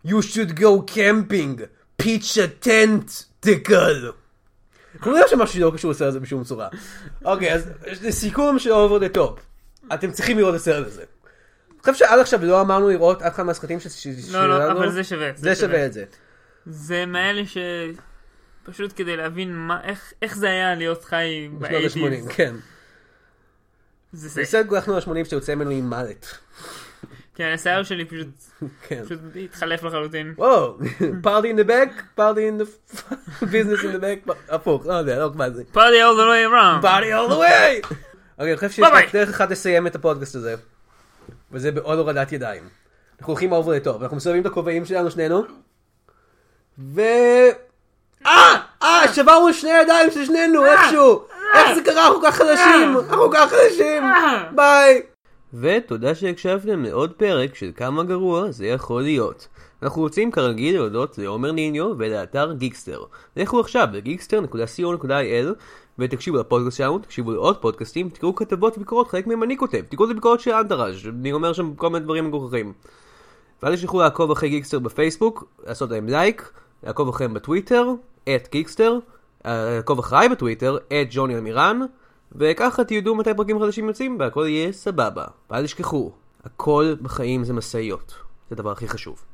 S1: you should go camping, pitch a tent, tickle. אנחנו יודעים שמשהו לא קשור לסרט הזה בשום צורה. אוקיי, אז זה סיכום של over the top. אתם צריכים לראות את הסרט הזה. אני חושב שעד עכשיו לא אמרנו לראות אף אחד מהסרטים ש- ש-
S2: לא, לא,
S1: שלנו.
S2: אבל זה שווה.
S1: זה שווה את זה.
S2: זה מאלה ש... פשוט כדי להבין מה, איך, איך זה היה להיות חי
S1: בשנות ה-80,
S2: באייטיז.
S1: כן.
S2: זה זה.
S1: זה סרט גולח שנות ה-80 שיוצא ממנו עם מלט.
S2: כן, השיער שלי פשוט,
S1: כן.
S2: פשוט התחלף לחלוטין.
S1: וואו, *laughs* פארטי אין דה בק, פארטי *laughs* אין דה ביזנס אין דה בק, הפוך, לא יודע, לא מה זה.
S2: party all the way around.
S1: body all the way! *laughs* אוקיי, אני חושב שיש
S2: ביי.
S1: רק דרך אחת לסיים את הפודקאסט הזה, וזה בעוד הורדת ידיים. אנחנו הולכים over the top, אנחנו מסובבים את הכובעים שלנו שנינו, ו... אה! אה! שברנו שני ידיים של שנינו איכשהו! איך זה קרה? אנחנו כל כך חלשים! אנחנו כל כך חלשים! ביי! ותודה שהקשבתם לעוד פרק של כמה גרוע זה יכול להיות. אנחנו רוצים כרגיל להודות לעומר ניניו ולאתר גיקסטר. לכו עכשיו לגיקסטר.co.il ותקשיבו לפודקאסט שלנו, תקשיבו לעוד פודקאסטים, תקראו כתבות וביקורות, חלק מהם אני כותב, תקראו את הביקורות של אנטראז', אני אומר שם כל מיני דברים מגוחכים. ואל תשכחו לעקוב אחרי גיקסטר בפייסבוק, לעשות להם לייק, לעקוב אחריהם בטוויטר, את גיקסטר, אה, לעקוב אחריי בטוויטר, את ג'וני אמירן, וככה תדעו מתי פרקים חדשים יוצאים והכל יהיה סבבה. ואל תשכחו, הכל בחיים זה משאיות, זה הדבר הכי חשוב.